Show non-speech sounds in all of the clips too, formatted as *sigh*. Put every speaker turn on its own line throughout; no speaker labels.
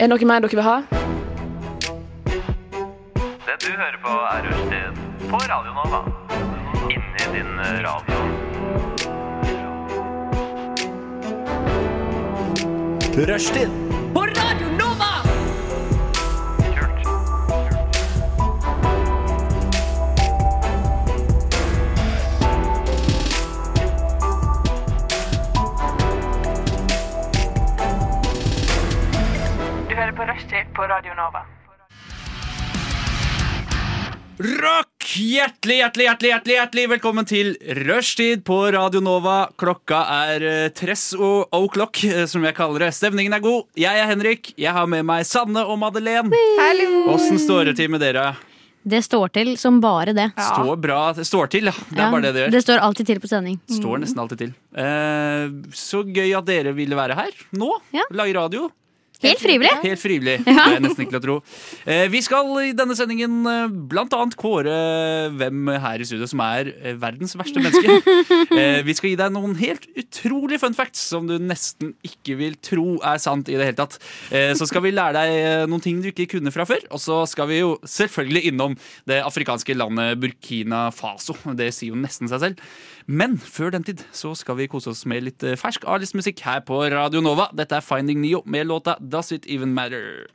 Er det noe mer dere vil ha?
Det du hører på er Rushtid på Radio Nova. Inni din eh, radio.
Rushtid
Kult.
Du hører på Rushtid på Radio Nova.
Rock! Hjertelig, hjertelig, hjertelig, hjertelig, hjertelig velkommen til Rushtid på Radio Nova. Klokka er eh, tress og o'clock, eh, som jeg kaller det. Stemningen er god. Jeg er Henrik. Jeg har med meg Sanne og Madeleine. Åssen står det til med dere?
Det står til som bare det.
Står bra Står til, ja. Det er
Ja,
bare det det gjør.
det står alltid til på sending.
Står nesten alltid til. Eh, så gøy at dere ville være her nå.
Ja.
Lage radio.
Helt frivillig!
Helt frivillig.
Ja.
Det er nesten ikke til å tro. Eh, vi skal i denne sendingen eh, blant annet kåre hvem her i studio som er eh, verdens verste menneske.
*laughs*
Eh, vi skal gi deg noen helt utrolige fun facts som du nesten ikke vil tro er sant i det hele tatt. Eh, så skal vi lære deg eh, noen ting du ikke kunne fra før, og så skal vi jo selvfølgelig innom det afrikanske landet Burkina Faso. Det sier jo nesten seg selv. Men før den tid så skal vi kose oss med litt eh, fersk A-listmusikk her på Radio Nova. Dette er Finding Neo med låta Does It Even Matter.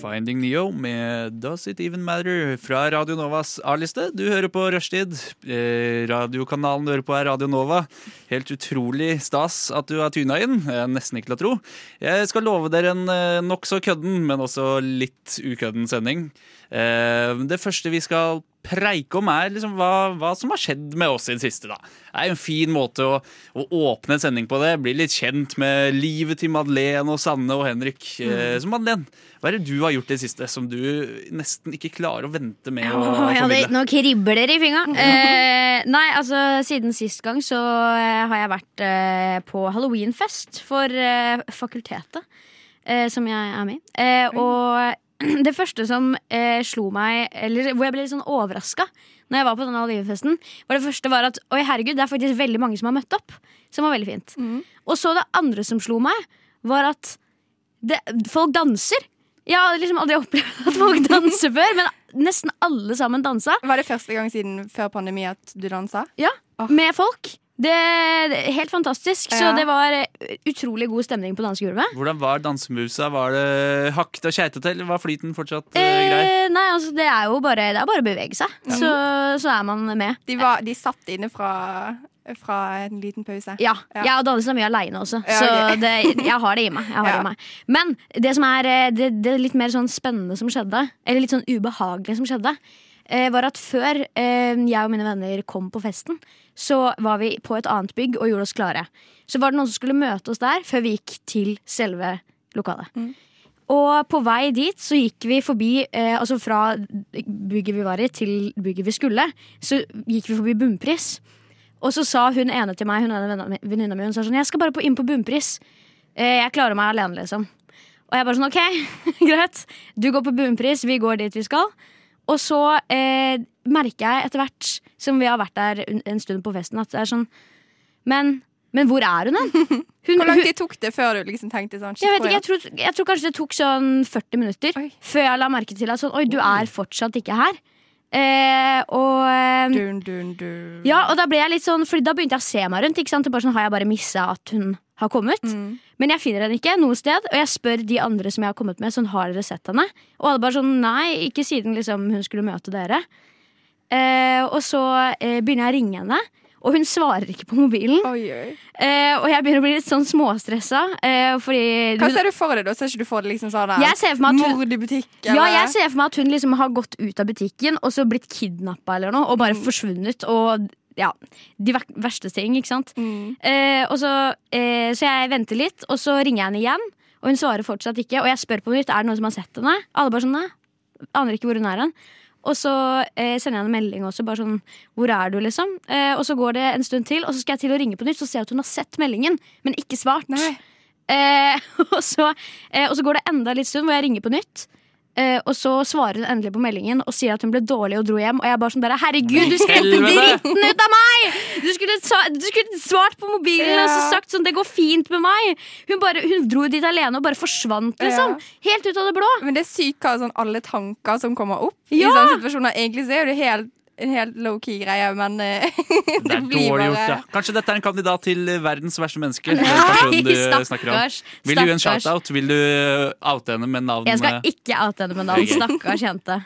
Finding Neo med Does It Even Matter fra Radio Novas A-liste. Du hører på Rushtid. Eh, radiokanalen du hører på er Radio Nova. Helt utrolig stas at du har tuna inn. Eh, nesten ikke til å tro. Jeg skal love dere en eh, nokså kødden, men også litt ukødden sending. Eh, det første vi skal preike om, er liksom hva, hva som har skjedd med oss i det siste. da. Det er jo en fin måte å, å åpne en sending på det. Bli litt kjent med livet til Madeleine og Sanne og Henrik. Eh,
Mm.
så Madeleine, hva er det du har gjort i det siste som du nesten ikke klarer å vente med å Mm.
Åh, ja, det,
formidle?
nå kribler det i fingra. Eh, nei, altså, siden sist gang så eh, har jeg vært eh, på halloweenfest for eh, fakultetet eh, som jeg er med i.
Mm.
Eh, og *clears throat* det første som eh, slo meg, eller hvor jeg ble litt sånn overraska når jeg var på denne halloweenfesten, var det første var at oi, herregud, det er faktisk veldig mange som har møtt opp. Som var veldig fint.
Mm.
Og så det andre som slo meg, var at det, folk danser. Jeg har liksom aldri opplevd at
*laughs*
folk danser før, men nesten alle sammen dansa.
Var det første gang siden før pandemi at du dansa?
Ja,
Ah.
med folk. Det det er Helt fantastisk. Så
Ja.
det var eh, utrolig god stemning på dansegulvet.
Hvordan var dansemusa? Var det hakket og keitete, eller var flyten fortsatt eh, grei?
*laughs* Eh, nei, altså det er jo bare, det er bare å bevege seg, så, så er man med.
De, var, de satt inne fra, fra en liten pause.
Ja.
Ja.
Jeg har dansa mye aleine også,
Ja,
så
ok.
det, jeg har det i meg. Jeg har det
Ja.
i meg. Men det som er eh, det, det litt mer sånn spennende som skjedde, eller litt sånn ubehagelige som skjedde, eh, var at før eh, jeg og mine venner kom på festen, så var vi på et annet bygg og gjorde oss klare. Så var det noen som skulle møte oss der før vi gikk til selve lokalet. Og på vei dit så gikk vi forbi eh, Altså fra bygget vi var i til bygget vi skulle Så gikk vi forbi bunnpris Og så sa hun ene til meg Hun ene venna- venninna mi Hun sa sånn Jeg skal bare på, inn på bunnpris eh, Jeg klarer meg alene liksom Og jeg bare sånn Ok, *laughs* greit Du går på bunnpris Vi går dit vi skal Og så eh, merker jeg etter hvert Som vi har vært der en, en stund på festen At det er sånn Men, men hvor er
*laughs*
hun hen? Hun-
Hvor lang
hun-
tid tok det før du liksom tenkte sånn? shit,
jeg vet
hvor
ikke,
er
jeg tror, jeg tror kanskje det tok sånn 40 minutter
Oi.
før jeg la merke til at sånn, oi, du er fortsatt ikke her. Eh, og, eh,
Dun, dun, dun.
ja, og da ble jeg litt sånn, fordi da begynte jeg å se meg rundt. Ikke sant? Og bare sånn, har jeg bare missa at hun har kommet?
Mm.
Men jeg finner henne ikke noe sted, og jeg spør de andre som jeg har kommet med, sånn, har dere sett henne? Og alle bare sånn, nei, ikke siden liksom, hun skulle møte dere. Eh, og så eh, begynner jeg å ringe henne, og hun svarer ikke på mobilen.
Oi, oi.
Eh, og jeg begynner å bli litt sånn småstressa, eh, fordi
Hva ser du for deg da? Ser ikke du for deg liksom sånn der,
Jeg ser for meg at hun-
mord i butikk?
Ja,
eller-
jeg ser for meg at hun liksom har gått ut av butikken og så blitt kidnappa eller noe, og bare
Mm.
forsvunnet. Og ja, de ver- verste ting, ikke sant.
Mm.
Eh, og så, eh, så jeg venter litt, og så ringer jeg henne igjen, og hun svarer fortsatt ikke. Og jeg spør på nytt er det noen som har sett henne. Alle bare sånn nei, aner ikke hvor hun er hen. Og så eh, sender jeg henne en melding også, bare sånn hvor er du, liksom. Eh, og så går det en stund til, og så skal jeg til å ringe på nytt, så ser jeg at hun har sett meldingen, men ikke svart.
Nei.
*laughs* Eh, og, så, eh, og så går det enda litt stund hvor jeg ringer på nytt. Eh, Eh, og så svarer hun endelig på meldingen og sier at hun ble dårlig og dro hjem. Og jeg er bare sånn der, herregud, du skremte
Helvete!
dritten ut av meg! Du skulle, sa- du skulle svart på mobilen og så
Ja.
sagt sånn, det går fint med meg. Hun, bare, hun dro dit alene og bare forsvant, liksom.
Ja.
Helt ut av det blå.
Men det er sykt hva sånn, alle tanker som kommer opp i
Ja!
sånne situasjoner. Egentlig så er det helt, en helt low-key greie, men eh,
Det er
blir
dårlig
bare-
gjort, da. Kanskje dette er en kandidat til eh, verdens verste menneske. den personen du eh, snakker om.
stakkars,
Vil du gi en
stakkars.
shout-out? Vil du eh, oute henne med navn?
Jeg skal
eh?
ikke oute henne med navn.
Ok.
Stakkars jente.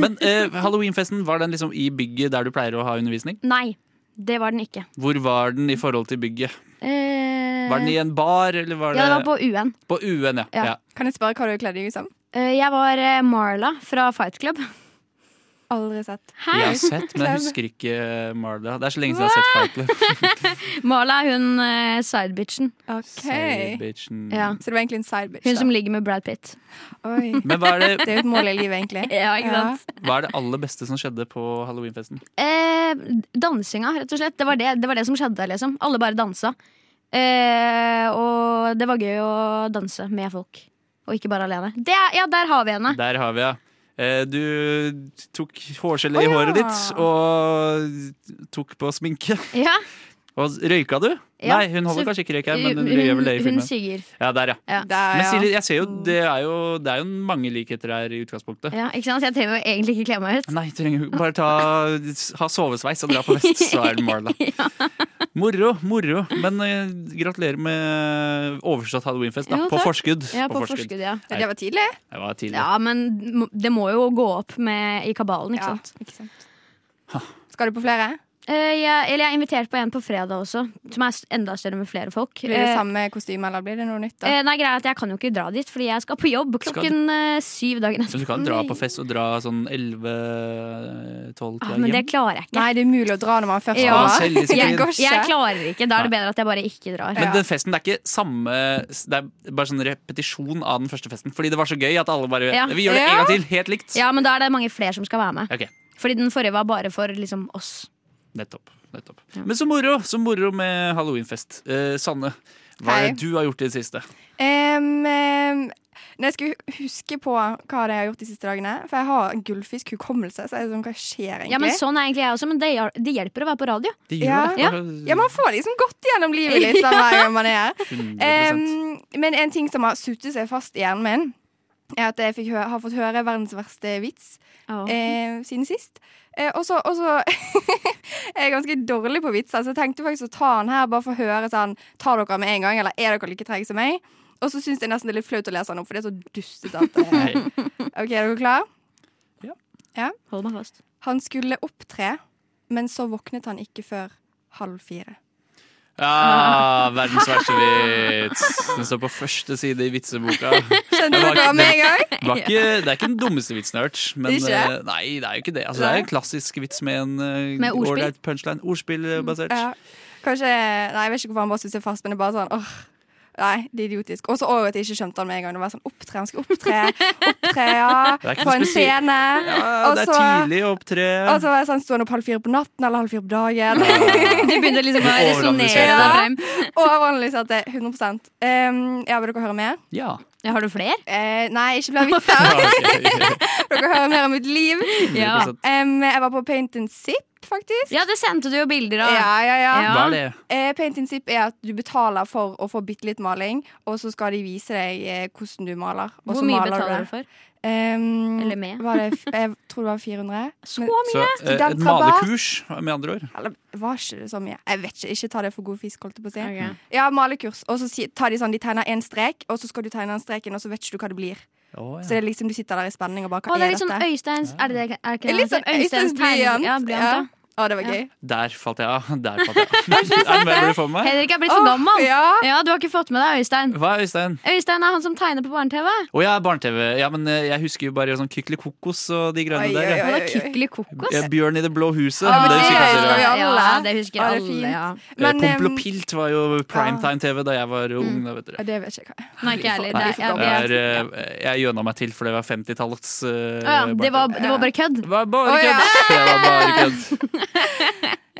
Men eh, halloweenfesten, var den liksom i bygget der du pleier å ha undervisning?
Nei, det var den ikke.
Hvor var den i forhold til bygget?
Eh,
Var den i en bar, eller var det,
Ja, det var på UN.
på UN? Ja.
Ja.
ja.
*laughs* Kan jeg spørre hva du kledde deg ut som?
Eh, jeg var eh, Marla fra Fight Club.
Aldri sett.
Hæ?
Jeg har sett, men jeg husker ikke eh, Marla. Det er så lenge siden jeg har sett Fight Club.
Marla er hun eh, sidebitchen.
Ok
Say, bitch, mm.
Ja.
Så det var egentlig en side bitch,
Hun
da.
som ligger med Brad Pitt.
Oi.
Men hva er, det,
Det er jo et mål i livet, egentlig.
*laughs* Ja, ikke
Ja.
sant?
hva er det aller beste som skjedde på halloweenfesten?
Eh, dansinga, rett og slett. Det var det, det var det som skjedde. liksom Alle bare dansa. Eh, og det var gøy å danse med folk. Og ikke bare alene. Det, er- ja, der har vi henne!
Der har vi ja. Eh, Du tok hårgelé
Å,
i
ja.
håret ditt og tok på sminke.
Ja,
Og røyka du?
Ja,
Nei, hun holder
så-
kanskje ikke røyk her, men
hun,
hun gjør vel det i
hun, hun
filmen.
synger.
Ja, der, ja.
Ja.
Der,
Men
ja.
Silje, jeg ser jo, det er jo, det er jo mange likheter her i utgangspunktet.
Ja, ikke sant? Jeg trenger jo egentlig ikke kle meg ut.
Nei, trenger jo bare ta, ha sovesveis og dra på vest, så
*laughs*
er det Marla. Moro, moro. Men eh, gratulerer med overstått halloweenfest, da.
Jo,
på
takk.
forskudd.
Ja,
På
på
forskudd.
forskudd, ja.
Det var tidlig.
Det var tidlig.
ja, men m- det må jo gå opp med, i kabalen, ikke
Ja,
sant?
ikke sant. Skal du på flere?
Eh, jeg, eller jeg er invitert på en på fredag også, som er s- enda større med flere folk.
Blir det
Eh,
samme kostyme, eller blir det noe nytt? da?
eh, nei, greia er at Jeg kan jo ikke dra dit, fordi jeg skal på jobb
Skal du?
klokken eh, syv dagen
Så
etter.
du kan dra på fest og dra sånn 11-12
Ah,
hjem?
men det klarer jeg ikke.
Nei, det er umulig å dra når man først
Ja.
drar.
Selvdisiplin.
Det går ikke.
Jeg klarer ikke, Da er det bedre at jeg bare ikke drar.
Men
Ja.
den festen det er ikke samme Det er bare sånn repetisjon av den første festen. Fordi det var så gøy at alle bare
Ja.
Vi gjør det en
Ja.
gang til, helt likt.
Ja, Men da er det mange flere som skal være med.
Ok,
Fordi den forrige var bare for liksom oss.
nettopp, nettopp. Men så moro så moro med halloweenfest. Eh, Sanne, hva er
Hei.
det du har gjort i det siste?
Em, em, når jeg skulle huske på hva det er jeg har gjort de siste dagene For jeg har gullfiskhukommelse, så jeg er sånn, hva skjer egentlig?
Ja, men Sånn er egentlig jeg også, men det, hjel- det hjelper å være på radio.
Det
Ja.
det,
Ja.
bare
Ja, man får liksom gått gjennom livet litt
*laughs*
sånn, hver gang man er her.
100%.
Em, men en ting som har suttet seg fast i hjernen min, er at jeg fikk hø har fått høre verdens verste vits eh, siden sist. Eh, og så og så- *laughs* Jeg er ganske dårlig på vitser, så jeg tenkte faktisk å ta den her bare for å høre sånn Ta dere med en gang, eller er dere like treige som meg? Og så syns jeg nesten det er litt flaut å lese den opp, for det er så dustete at det
Hei.
*laughs* OK, er dere klare?
Hold meg *laughs* fast.
Han skulle opptre, men så våknet han ikke før halv fire.
Ah, verdens verste vits. Den står på første side i vitseboka.
Skjønte
Det var
dere
ikke-
med en gang? *laughs*
Det var ikke, det er ikke den dummeste vitsen jeg har hørt. Men
Ikke?
eh, nei, det er jo ikke det. Altså, det er en klassisk vits med en eh,
Med ordspill.
ålreit punchline. eh, Ordspillbasert.
Ja. Kanskje Nei, jeg vet ikke hvorfor han bare syns jeg er fast, men det er bare sånn åh. Nei, det er idiotisk. Og så også at jeg ikke skjønte han med en gang. Det var sånn opptre, han skal opptre, opptre,
Det er
ja.
ikke
På en
spesielt-
scene.
Ja, det er tidlig å opptre.
Og så var jeg sånn stående opp halv fire på natten eller halv fire på dagen.
Du begynte liksom å resonnere
Overanalyserer.
deg frem.
*laughs* Og overanalyserte 100 Ehm, Ja, vil dere høre mer?
ja.
Ja, har du flere?
Eh, nei, ikke flere
*laughs*
vitser. *laughs* dere hører mer om mitt liv.
Ja.
Ehm, jeg var på Paint and Zip, faktisk.
ja, det sendte du jo bilder av.
Ja, ja, ja.
Ja.
Hva er det?
Eh, paint and Zip er at du betaler for å få bitte litt maling, og så skal de vise deg eh, hvordan du maler. Og
Hvor
så
mye
maler
betaler
det.
du for?
Ehm,
Eller med?
Var det, f- jeg tror det var 400.
Så
Men-
mye!
Så, eh, et
Studentrabatt.
malekurs, med andre ord.
Eller var ikke det så mye? Jeg vet ikke. Ikke ta det for god fisk, holdt jeg på å si. Mm.
Ok.
Ja, malekurs. Og så si- tar de sånn, de tegner én strek, og så skal du tegne den streken, og så vet ikke du hva det blir. Så det er liksom, du sitter der i spenning og bare Hva
Å, det er
er
litt sånn
dette?
Øysteins Er det det er ikke det
Litt sånn
han heter?
Øysteins
tegne-
blyant.
Ja, blyant,
Å, det var gøy.
Der falt jeg av. Der falt jeg
*laughs*
av. Er det mer du får med
ja.
meg?
Henrik er blitt for
Åh,
gammel.
ja.
du har ikke fått med deg Øystein.
Hva er Øystein?
Øystein er han som tegner på barne-TV.
Å ja, barne-TV. Ja, men eh, jeg husker jo bare sånn Kykeli Kokos og de
Oi,
grønne
oi,
der. ja.
Han er
oi, oi.
Kykkeli Kokos.
Eh, Bjørn i det blå huset.
Ah,
det
det
husker
husker
kanskje
vi
dere.
alle.
Ja, det husker
Å, det er
alle.
fint.
Ja.
Eh,
Men,
Pompel og
ehm,
Pilt var jo primetime-TV da jeg var ung. Da, vet
ja,
dere.
det vet ikke jeg hva er.
Nei, ikke ærlig. Det,
Nei,
er- ja,
Det
det,
er, eh, jeg gjøna meg til, for det var 50-tallets uh,
Å ja, det, var, det var bare kødd.
Det var bare
Å,
kødd!
ja.
Det var bare kødd.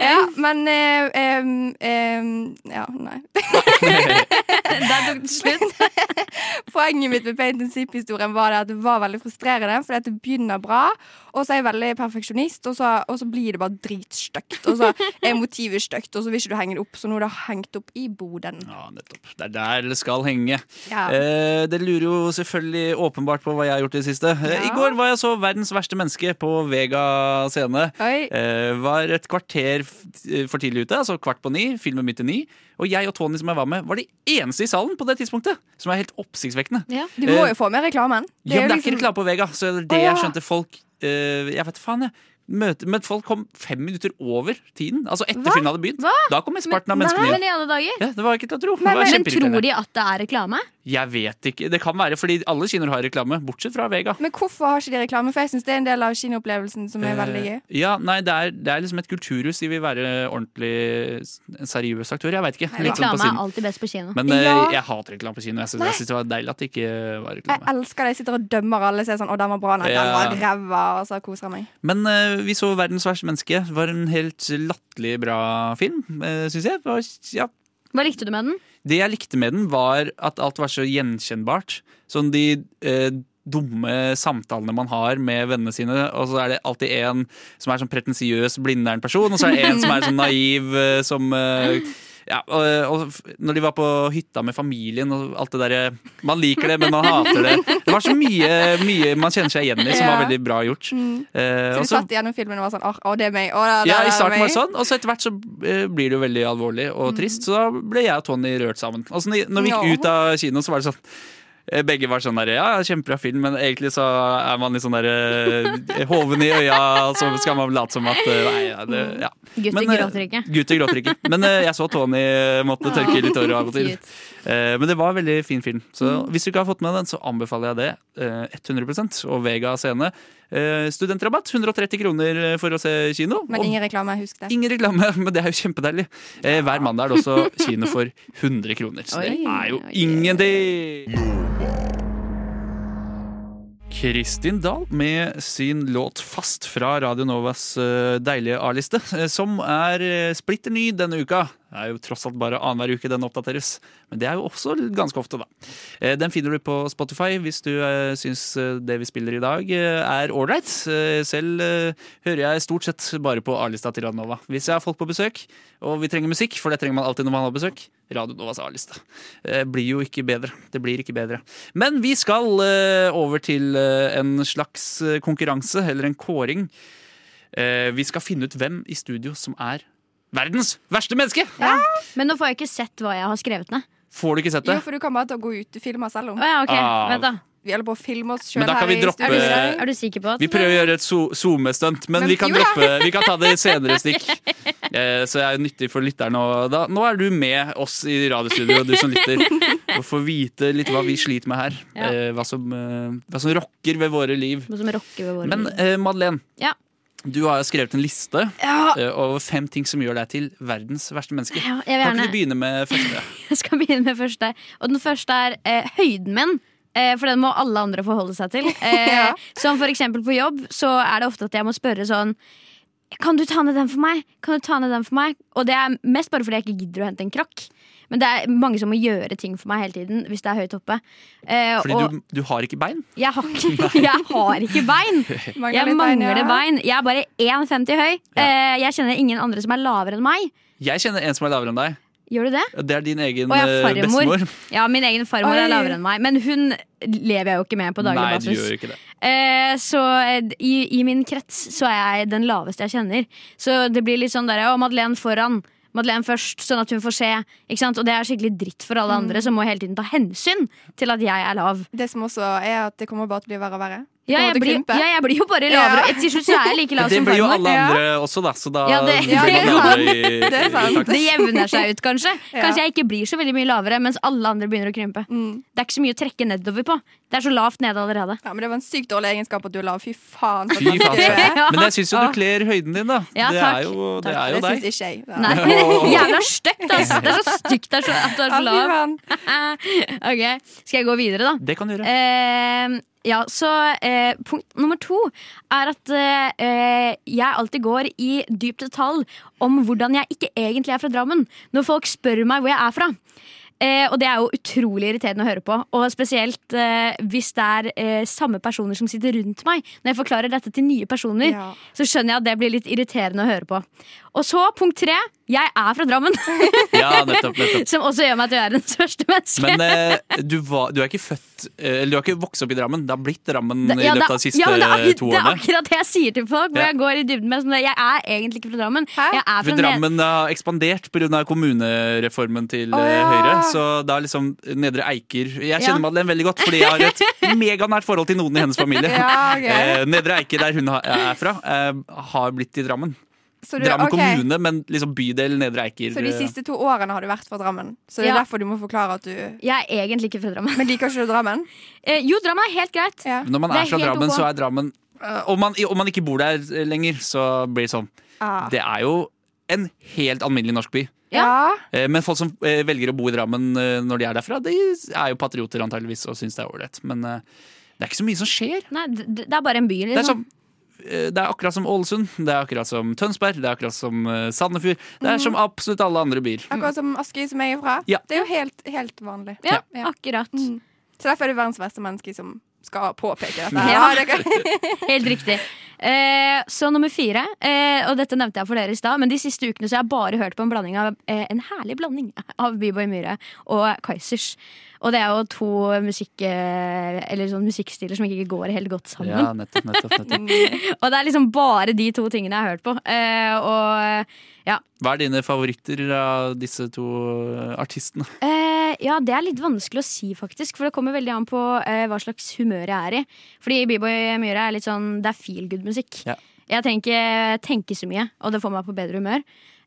Ja, men eh, ehm, ehm, Ja, nei.
*laughs* Der tok det slutt.
*laughs* Poenget mitt med Paint and Sip-historien var det at det var veldig frustrerende, fordi at det begynner bra, og så er jeg veldig perfeksjonist, og så, og så blir det bare dritstygt. Og så er motivet stygt, og så vil ikke du henge det opp, så nå er det hengt opp i boden.
Ja, nettopp. Det er der det skal henge.
Ja.
Eh, dere lurer jo selvfølgelig åpenbart på hva jeg har gjort i det siste. Eh, I
Ja.
går var jeg så Verdens verste menneske på Vega scene.
Oi.
Eh, var et kvarter f- eh, for tidlig ute, altså kvart på ni. Filmen midt i ni. Og jeg og Tony som jeg var med, var de eneste i salen på det tidspunktet. Som er helt oppsiktsvekkende.
Ja.
Du må
eh,
jo få med reklamen.
Det ja, men det er
liksom-
ikke reklame på Vega, så det er det
Å, ja.
jeg skjønte folk eh, Jeg vet faen, jeg. Møte, men folk kom fem minutter over tiden. Altså etter
Hva?
filmen hadde begynt.
Hva?
Da kom sparten av
Nei,
menneskene
men
igjen.
i alle dager.
Ja, det var ikke til å tro.
Men-
det var
Men tror
kjempeirriterende.
de at det er reklame?
Jeg vet ikke. Det kan være fordi alle kinoer har reklame, bortsett fra Vega.
Men hvorfor har ikke de reklame? For jeg syns det er en del av kinoopplevelsen som er veldig gøy.
Eh, Ja, nei, det er, det er liksom et kulturhus. De vil være ordentlig s- en seriøs aktør. Jeg veit ikke. Litt sånn på
Reklame er
siden.
alltid best på kino.
Men eh,
Ja.
jeg hater reklame på kino. Jeg syns jeg syns det var deilig at det ikke var
Jeg
reklame.
elsker det. Jeg sitter og dømmer alle. Så er jeg sånn, å, den var bra, nei, den
Ja.
var ræva. Og så koser jeg meg.
Men eh, vi så 'Verdens verste menneske'. Det var en helt latterlig bra film, uh, syns jeg. Det var, ja,
Hva likte du med den?
Det jeg likte med den, var at alt var så gjenkjennbart. Sånn de eh, dumme samtalene man har med vennene sine, og så er det alltid en som er sånn pretensiøs Blindern-person, og så er det en som er sånn naiv eh, som eh, ja, og, og f- når de var på hytta med familien og alt det derre Man liker det, men man hater det. Det var så mye, mye man kjenner seg igjen i, som var
Ja. Mm.
veldig bra gjort. Eh,
Så vi
og så-
satt igjennom filmen og var sånn, åh, åh, det er meg. Åh, det, det,
ja, i
det er
starten var
meg.
det sånn, og så etter hvert så eh, blir det jo veldig alvorlig og trist. Så da ble jeg og Tony rørt sammen. Og så når når vi
Ja.
gikk ut av kino, så var det sånn eh, begge var sånn der, ja, kjempebra film, men egentlig så er man litt sånn der eh, hoven i øya, og så skal man late som at eh, Nei, ja, det, ja.
Gutter
Men, eh,
gråter ikke.
Gutter gråter ikke. Men eh, jeg så Tony eh, måtte tørke litt tårer av og til.
Cute.
Eh, Men det var en veldig fin film. Så hvis du ikke har fått med den, så anbefaler jeg det. eh, 100 Og Vega scene. Eh, Studentrabatt 130 kroner eh, for å se kino.
Men
og
ingen reklame. Husk det.
Ingen reklame, *laughs* men det er jo kjempedeilig. Eh, hver mandag er det også kino for 100 kroner. Så det
Oi,
er jo
oi, oi.
ingenting! Kristin Dahl med sin låt 'Fast' fra Radio Novas eh, deilige A-liste, eh, som er eh, splitter ny denne uka. Det er jo tross alt bare annenhver uke den oppdateres, men det er jo også ganske ofte, da. Eh, Den finner du på Spotify hvis du eh, syns eh, det vi spiller i dag eh, er ålreit. Eh, Selv eh, hører jeg stort sett bare på A-lista til Radio Nova. Hvis jeg har folk på besøk, og vi trenger musikk, for det trenger man alltid når man har besøk, Radio Novas A-liste. Eh, Blir jo ikke bedre. Det blir ikke bedre. Men vi skal eh, over til eh, en slags eh, konkurranse, eller en kåring. Eh, Vi skal finne ut hvem i studio som er verdens verste menneske!
Men nå får jeg ikke sett hva jeg har skrevet ned.
Får du ikke sett det?
Jo, for du kan bare ta og gå ut. Du filmer selv om.
Å, ja, ok,
Ah.
vent da
Vi holder på å filme oss
Men
sjøl
da kan
her
vi
i
droppe-
er du,
studio. i dag.
er du sikker på at
Vi prøver å gjøre et so- SoMe-stunt, men,
Men-
vi, kan
jo da.
droppe, vi kan ta det i senere
*laughs*
stikk. Eh, så jeg er nyttig for lytterne. Og da, nå er du med oss i radiostudio, du som lytter, og får vite litt hva vi sliter med her.
Ja.
Eh, hva, som, eh, hva som rokker ved våre liv.
Noe som rocker ved våre
Men
liv.
eh, Madeleine,
Ja.
du har jo skrevet en liste
ja,
eh, over fem ting som gjør deg til verdens verste menneske.
ja, jeg vil
eh, Kan ikke
gjerne
du begynne med første?
*laughs* Jeg skal begynne med første. Og den første er eh, høyden min. Eh, for den må alle andre forholde seg
*laughs*
til. Eh,
Ja.
Som for eksempel på jobb, så er det ofte at jeg må spørre sånn Kan du ta ned den for meg? Kan du ta ned den for meg? Og det er mest bare fordi jeg ikke gidder å hente en krakk. Men det er mange som må gjøre ting for meg hele tiden hvis det er høyt oppe. Eh,
Fordi
og
du, du har ikke bein?
jeg,
*laughs*
har ikke, *laughs* jeg har ikke bein! Jeg
litt bein, ja.
mangler bein. Jeg er bare 1,50 høy. Eh, jeg kjenner ingen andre som er lavere enn meg.
Jeg kjenner en som er lavere enn deg.
Gjør du det?
Det er din egen
Å ja,
eh,
farmor.
bestemor.
Ja, min egen farmor
Oi.
er lavere enn meg, men hun lever jeg jo ikke med på daglig
Nei, du
basis.
gjør jo ikke det.
Eh, så eh, i, i min krets så er jeg den laveste jeg kjenner. Så det blir litt sånn der, å, Madeleine foran. Madeleine først, sånn at hun får se. Ikke sant? Og det er skikkelig dritt for
Mm.
alle andre som må hele tiden ta hensyn til at jeg er lav.
Det som også er at det kommer bare til å bli verre og verre. Kommer
Ja, jeg
til å
blir,
krympe.
ja, jeg blir jo bare lavere.
Ja.
Til slutt så er jeg like lav
Det
som
blir jo
farmor.
alle andre også, da. Så da
Ja, det-
blir
*laughs* ja, det er
alle andre i-
Det er sant.
i takt.
Det jevner seg ut, kanskje.
*laughs* Ja.
Kanskje jeg ikke blir så veldig mye lavere, mens alle andre begynner å krympe.
Mm.
Det er ikke så mye å trekke nedover på. Det er så lavt nede allerede.
Ja, men det var en sykt dårlig egenskap at du er lav. Fy faen. for
*laughs*
Fy faen.
at man skal gjøre.
sjef. Men jeg syns jo du kler høyden din, da.
Ja,
det
takk.
er jo, det
Takk.
er jo
Det syns
deg.
ikke jeg.
Nei,
*laughs*
Jævla stygt, altså! Det er så stygt det er så, at du er
Ja,
så
fy
lav.
faen.
*laughs* Ok, Skal jeg gå videre, da?
Det kan du
*laughs*
gjøre.
Eh, ja, så eh, punkt nummer to er at eh, eh, jeg alltid går i dypt detalj om hvordan jeg ikke egentlig er fra Drammen, når folk spør meg hvor jeg er fra. Eh, og det er jo utrolig irriterende å høre på. Og spesielt eh, hvis det er eh, samme personer som sitter rundt meg. Når jeg forklarer dette til nye personer,
Ja.
så skjønner jeg at det blir litt irriterende å høre på. Og så punkt tre. Jeg er fra Drammen, *laughs*
Ja, nettopp, nettopp.
som også gjør meg til å være den største menneske. *laughs*
Men eh, du, var, du er ikke født eh, Eller du har ikke vokst opp i Drammen. Det har blitt Drammen
Det-
i
ja, det-
løpet av de siste
ja, men det
eh,
er akkurat-
to
Det er
årene.
akkurat det jeg sier til folk. Hvor
Ja.
Jeg går i dybden med sånn, Jeg er egentlig ikke fra Drammen.
Hæ?
Jeg er
For
fra Ned-
Drammen har ekspandert pga. kommunereformen til
Å,
eh,
ja.
Høyre. Så da er liksom Nedre Eiker Jeg kjenner
Ja.
Madeleine veldig godt, fordi jeg har
*laughs*
et meganært forhold til noen i hennes familie.
Ja, ok.
Eh, Nedre Eiker, der hun ha- er fra, eh, har blitt i Drammen.
Så du-
Drammen
ok.
kommune, men liksom bydel Nedre Eiker.
Så de
eh,
siste to årene har du vært fra Drammen. Så det er
Ja.
derfor du må forklare at du
Jeg er egentlig ikke fra Drammen. *laughs*
Men liker ikke du Drammen?
Eh, jo, Drammen er helt greit.
Ja.
Når man
Det
er,
er
fra
helt
Drammen,
ok.
så er Drammen eh, om man, om man ikke bor der eh, lenger, så blir det sånn.
Ah.
Det er jo en helt alminnelig norsk by.
Ja.
Eh, Men folk som eh, velger å bo i Drammen eh, når de er derfra, de er jo patrioter antageligvis og syns det er ålreit. Men eh, det er ikke så mye som skjer.
Nei, d- d- det er bare en by. Liksom.
Det er, som, eh, det er akkurat som Ålesund, det er akkurat som Tønsberg, det er akkurat som eh, Sandefjord. Det er som absolutt alle andre byer.
Akkurat som Askøy, som jeg er fra.
Ja.
Det er jo helt, helt vanlig.
ja,
Ja.
akkurat.
Så derfor er det verdens verste menneske som skal påpeke dette. her.
Ja.
*laughs* Ja, det kan-
Helt riktig. Eh, så nummer fire, eh, og dette nevnte jeg for dere i stad, men de siste ukene så har jeg bare hørt på en blanding av eh, en herlig blanding *laughs* av Beboy Myhre og Kaizers. Og det er jo to musikk, eh, eller sånn musikkstiler som ikke går helt godt sammen.
Ja, nettopp, nettopp, nettopp.
*laughs* Og det er liksom bare de to tingene jeg har hørt på. Eh, og ja.
Hva er dine favoritter av disse to eh, artistene?
Eh, ja, det er litt vanskelig å si, faktisk. For det kommer veldig an på eh, hva slags humør jeg er i. Fordi B-boy Myhre er litt sånn Det er feel good-musikk.
Ja.
Jeg tenker, tenker så mye, og det får meg på bedre humør.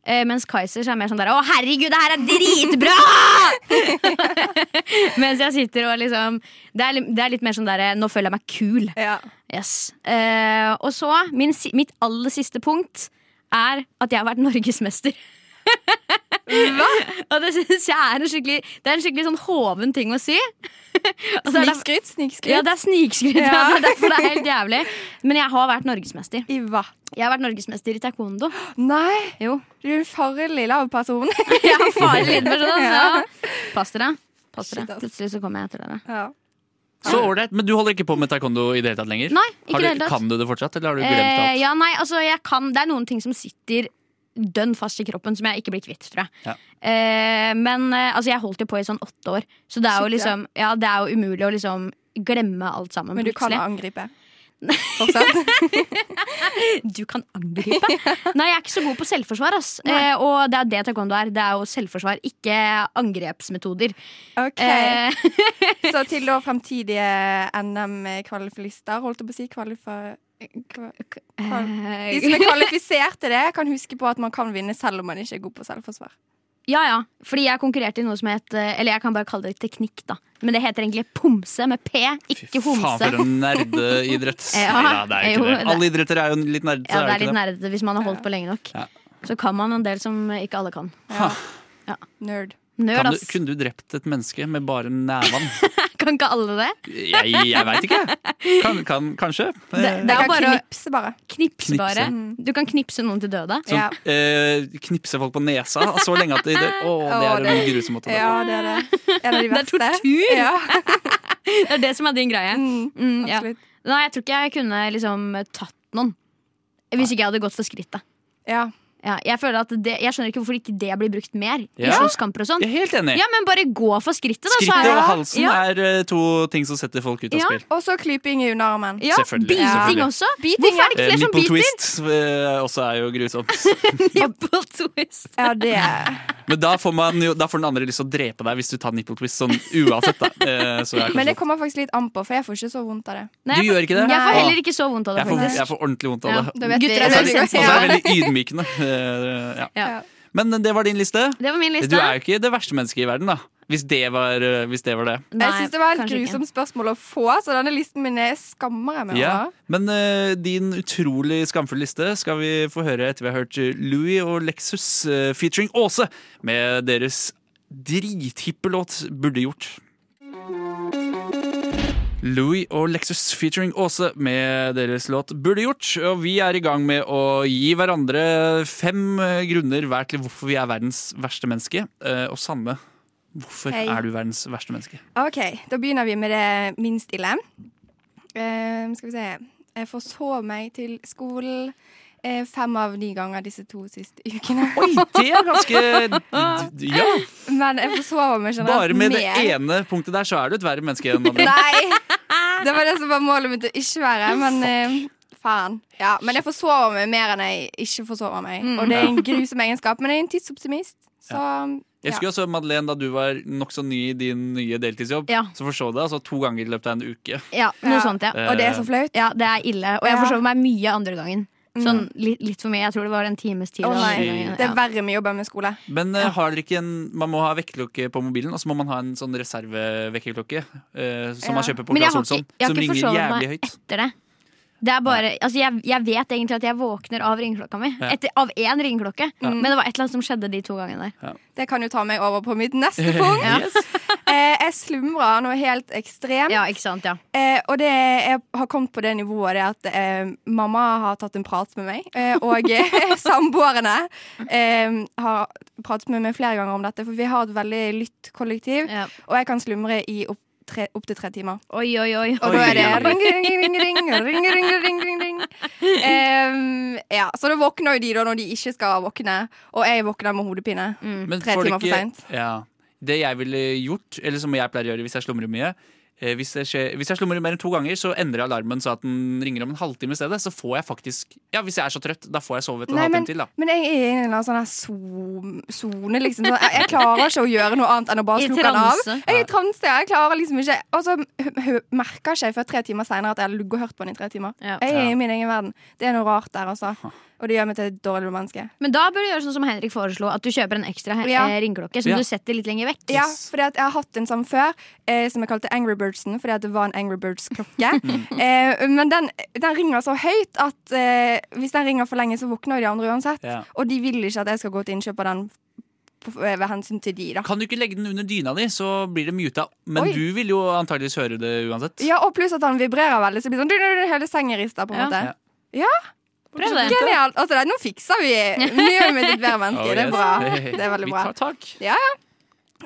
Eh, mens Kaizers er mer sånn der Å, herregud, det her er dritbra! *laughs* mens jeg sitter og liksom Det er, li- det er litt mer sånn derre Nå føler jeg meg kul.
ja.
Yes. Eh, og så, min, si- mitt aller siste punkt er at jeg har vært norgesmester. og det synes jeg er en skikkelig Det er en skikkelig sånn hoven ting å
*laughs*
si. Og så er det-
Snikskryt, snikskryt.
Ja, det er snikskryt. Ja.
Ja.
det er derfor det er helt jævlig. Men jeg har vært norgesmester.
Iva.
Jeg har vært norgesmester i taekwondo.
Nei,
Jo.
du er en farlig lav person.
Jeg har farlig litt for sånn,
Ja.
så pass dere. Pass dere.
Shit, ass.
Plutselig så kommer jeg etter dere.
*laughs* ja.
Så ålreit, men du holder ikke på med taekwondo i det hele tatt lenger?
Ah. Nei, ikke
har
i
du,
det hele tatt.
Kan du det fortsatt, eller har du glemt
Eh,
alt?
ja, nei, altså jeg kan Det er noen ting som sitter dønn fast i kroppen som jeg ikke blir kvitt, tror jeg.
Ja.
Eh, men eh, altså, jeg holdt jo på i sånn åtte år, så det er
Shit,
jo
ja.
liksom ja, det er jo umulig å liksom glemme alt sammen
Men du kan
plutselig. *laughs*
angripe. Fortsatt.
Du kan
*laughs*
angripe! nei, jeg er ikke så god på selvforsvar, ass. Eh, og det er det taekwondo er. Det er jo selvforsvar, ikke angrepsmetoder.
Ok,
Eh,
Så til da fremtidige NM-kvalifilister, holdt jeg på å si, kvalifa... kva-
Eh.
kva- De som er kvalifisert til det, kan huske på at man kan vinne selv om man ikke er god på selvforsvar.
ja ja, fordi jeg konkurrerte i noe som het eh, Eller jeg kan bare kalle det teknikk, da. Men det heter egentlig pomse med P, ikke
Faen,
homse.
for en
*laughs*
nerdeidrett.
Ja,
Neida, det er jo
jo,
ikke det.
det-
Alle idretter er jo litt nerdete.
Ja,
er
det er
det
litt
ikke det?
nerdete hvis man har holdt på lenge nok.
Ja.
Så kan man en del som ikke alle kan.
Nerd.
Nerd,
Kan du,
ass.
kunne du drept et menneske med bare neven?
*laughs* Kan ikke alle det?
Jeg, jeg veit ikke. Kan, kan, kanskje. Eh,
Det, det
Jeg
er
kan
bare å
knipse, bare.
knipse, bare.
Knipse.
Du kan knipse noen til døde.
Sånn,
Ja.
eh, knipse folk på nesa så lenge at de det, Å, det
Å,
er en
det-
grusom måte å dø
Ja, det er det. En av de
Det er
verste.
tortur!
Ja.
Det er det som er din greie.
Mm,
Mm, ja.
absolutt.
Nei, jeg tror ikke jeg kunne liksom tatt noen. Hvis ikke jeg hadde gått for skrittet.
Ja.
Ja, jeg, føler at det, jeg skjønner ikke hvorfor ikke det blir brukt mer i
Ja.
slåsskamper og sånn.
Jeg er helt enig.
Ja, men bare gå for skrittet, da. så
Skrittet
er-
og halsen
Ja,
er eh, to ting som setter folk ut av
Ja.
spill.
Og så klyping i underarmen.
ja.
Selvfølgelig,
Biting
selvfølgelig.
også. Hvorfor er det
Eh,
ikke flere som
Nipple
biter?
twist eh, også er jo grusomt.
Nipple twist.
Ja, det
*laughs*
Men da får, man jo, da får den andre lyst til å drepe deg hvis du tar nipple twist sånn uansett. Da. Eh, Så jeg,
Men det kommer faktisk litt an på, for jeg får ikke så vondt av det.
Nei,
Du
jeg får-
gjør ikke det?
Jeg får
Å.
heller ikke så vondt av det,
jeg, får,
faktisk.
jeg får ordentlig vondt av det.
da vet
Gutter
vi-
er
Og så er
veldig
det- og så er det
sensitive.
veldig ydmykende. Eh, Ja.
Ja.
Ja.
Men det var din liste.
Det var min liste.
Du er jo ikke det verste mennesket i verden, da. Hvis det var, eh, hvis det, var det.
Nei,
jeg synes det var et
kanskje ikke.
grusomt spørsmål å få, så denne listen min er skammer jeg meg
Ja.
over.
Men eh, din utrolig skamfulle liste skal vi få høre etter vi har hørt Louis og Lexus eh, featuring Åse med deres drithippe låt 'Burde gjort'. Louis og Lexus featuring Åse med deres låt 'Burde gjort'. Og vi er i gang med å gi hverandre fem eh, grunner hver til hvorfor vi er verdens verste menneske. eh, Og sanne Hvorfor
Hei.
er du verdens verste menneske? *laughs*
OK, da begynner vi med det minst ille. Eh, skal vi se Jeg forsov meg til skolen eh, fem av ni ganger disse to siste ukene.
Oi, det er ganske d- d- Ja!
*laughs* Men jeg forsover meg generelt
Bare med det
mer.
ene punktet der, så er du et verre menneske enn
*laughs*
andre.
Nei! Det var det som var målet mitt å ikke være, men eh, faen. Mm. Ja, men jeg forsover meg mer enn jeg ikke forsover meg. Og det er en grusom egenskap, men jeg er en tidsoptimist. Så
Jeg husker
ja.
også, Madeleine, da du var nokså ny i din nye deltidsjobb,
Ja.
så forså det altså, to ganger i løpet av en uke.
Ja, noe
Ja.
sånt, ja.
Og det er så flaut.
Ja, det er ille. Og jeg
Ja. Mm.
forsov meg mye andre gangen. Sånn litt, litt for mye. Jeg tror det var en times tid.
Å
den andre
nei,
gangen,
Det er
ja.
verre med jobben med skole.
Men eh, har dere ikke en, man må ha vekkerklokke på mobilen, og så må man ha en sånn reservevekkerklokke eh, som man
Ja.
kjøper på
Men jeg
Clas
har ikke,
Olsson,
jeg har
som
ikke
ringer
forsovet
jævlig
meg
høyt.
etter det. Det er bare, altså jeg, jeg vet egentlig at jeg våkner av ringeklokka mi.
Ja.
Etter, av én ringeklokke. Men det var et eller annet som skjedde de to gangene der.
Det kan jo ta meg over på mitt neste punkt. Eh, jeg slumrer noe helt ekstremt.
Ja, ikke sant, ja
Eh, og det, jeg har kommet på det nivået det at eh, mamma har tatt en prat med meg. Eh, og eh, *laughs* samboerne eh, har pratet med meg flere ganger om dette, for vi har et veldig lytt kollektiv.
Ja.
Og jeg kan slumre i opp tre- opptil tre timer.
Oi, oi, oi.
Og da er det ring, ring, ring, ring, ring, ring, ring, ring, ring. Eh, ja, så da våkner jo de da når de ikke skal våkne, og jeg våkner med hodepine.
Men
Tre
får
timer for
ikke-
sent.
Ja. Det jeg ville gjort, eller som jeg pleier å gjøre hvis jeg slumrer mye eh, hvis jeg, skje- hvis jeg slumrer mer enn to ganger, så endrer jeg alarmen så at den ringer om en halvtime i stedet. Så får jeg faktisk Ja, hvis jeg er så trøtt, da får jeg sove en
Nei,
halvtime
men,
til, da.
men jeg er i en eller annen sånn her som- sone, liksom. Sånn, Jeg, jeg klarer ikke å gjøre noe annet enn å bare
I
slukke den av.
transe.
Jeg er i transe, ja. jeg klarer liksom ikke Og så hø- hø- merker ikke jeg før tre timer senere at jeg har ligget og hørt på den i tre timer.
Ja.
Jeg er
Ja.
i min egen verden. Det er noe rart der, altså. Og det gjør meg til et dårlig menneske.
Men da bør du gjøre sånn som Henrik foreslo, at du kjøper en ekstra he-
Ja.
eh, ringeklokke som
Ja.
du setter litt lenger vekk.
Ja,
Yes.
fordi at jeg har hatt en sånn før eh, som jeg kalte Angry Birdsen, fordi at det var en Angry
*laughs*
Birds-klokke.
Mm.
eh, men den, den ringer så høyt at eh, hvis den ringer for lenge, så våkner jo de andre uansett.
Ja.
Og de vil ikke at jeg skal gå til innkjøp av den på- eh, ved hensyn til de, da.
Kan du ikke legge den under dyna di, så blir det muta. Men
Oi.
du vil jo antageligvis høre det uansett.
Ja, og pluss at han vibrerer veldig, så det blir sånn *laughs* du, du, du, hele sengen rister, på en
Ja.
måte.
Ja.
Prøv det.
Genialt. Altså, det, nå fikser vi miljøet med ditt bedre menneske.
*laughs* Oh,
Det
yes.
er bra.
Hey, hey,
Det er veldig
vi
bra.
tar tak.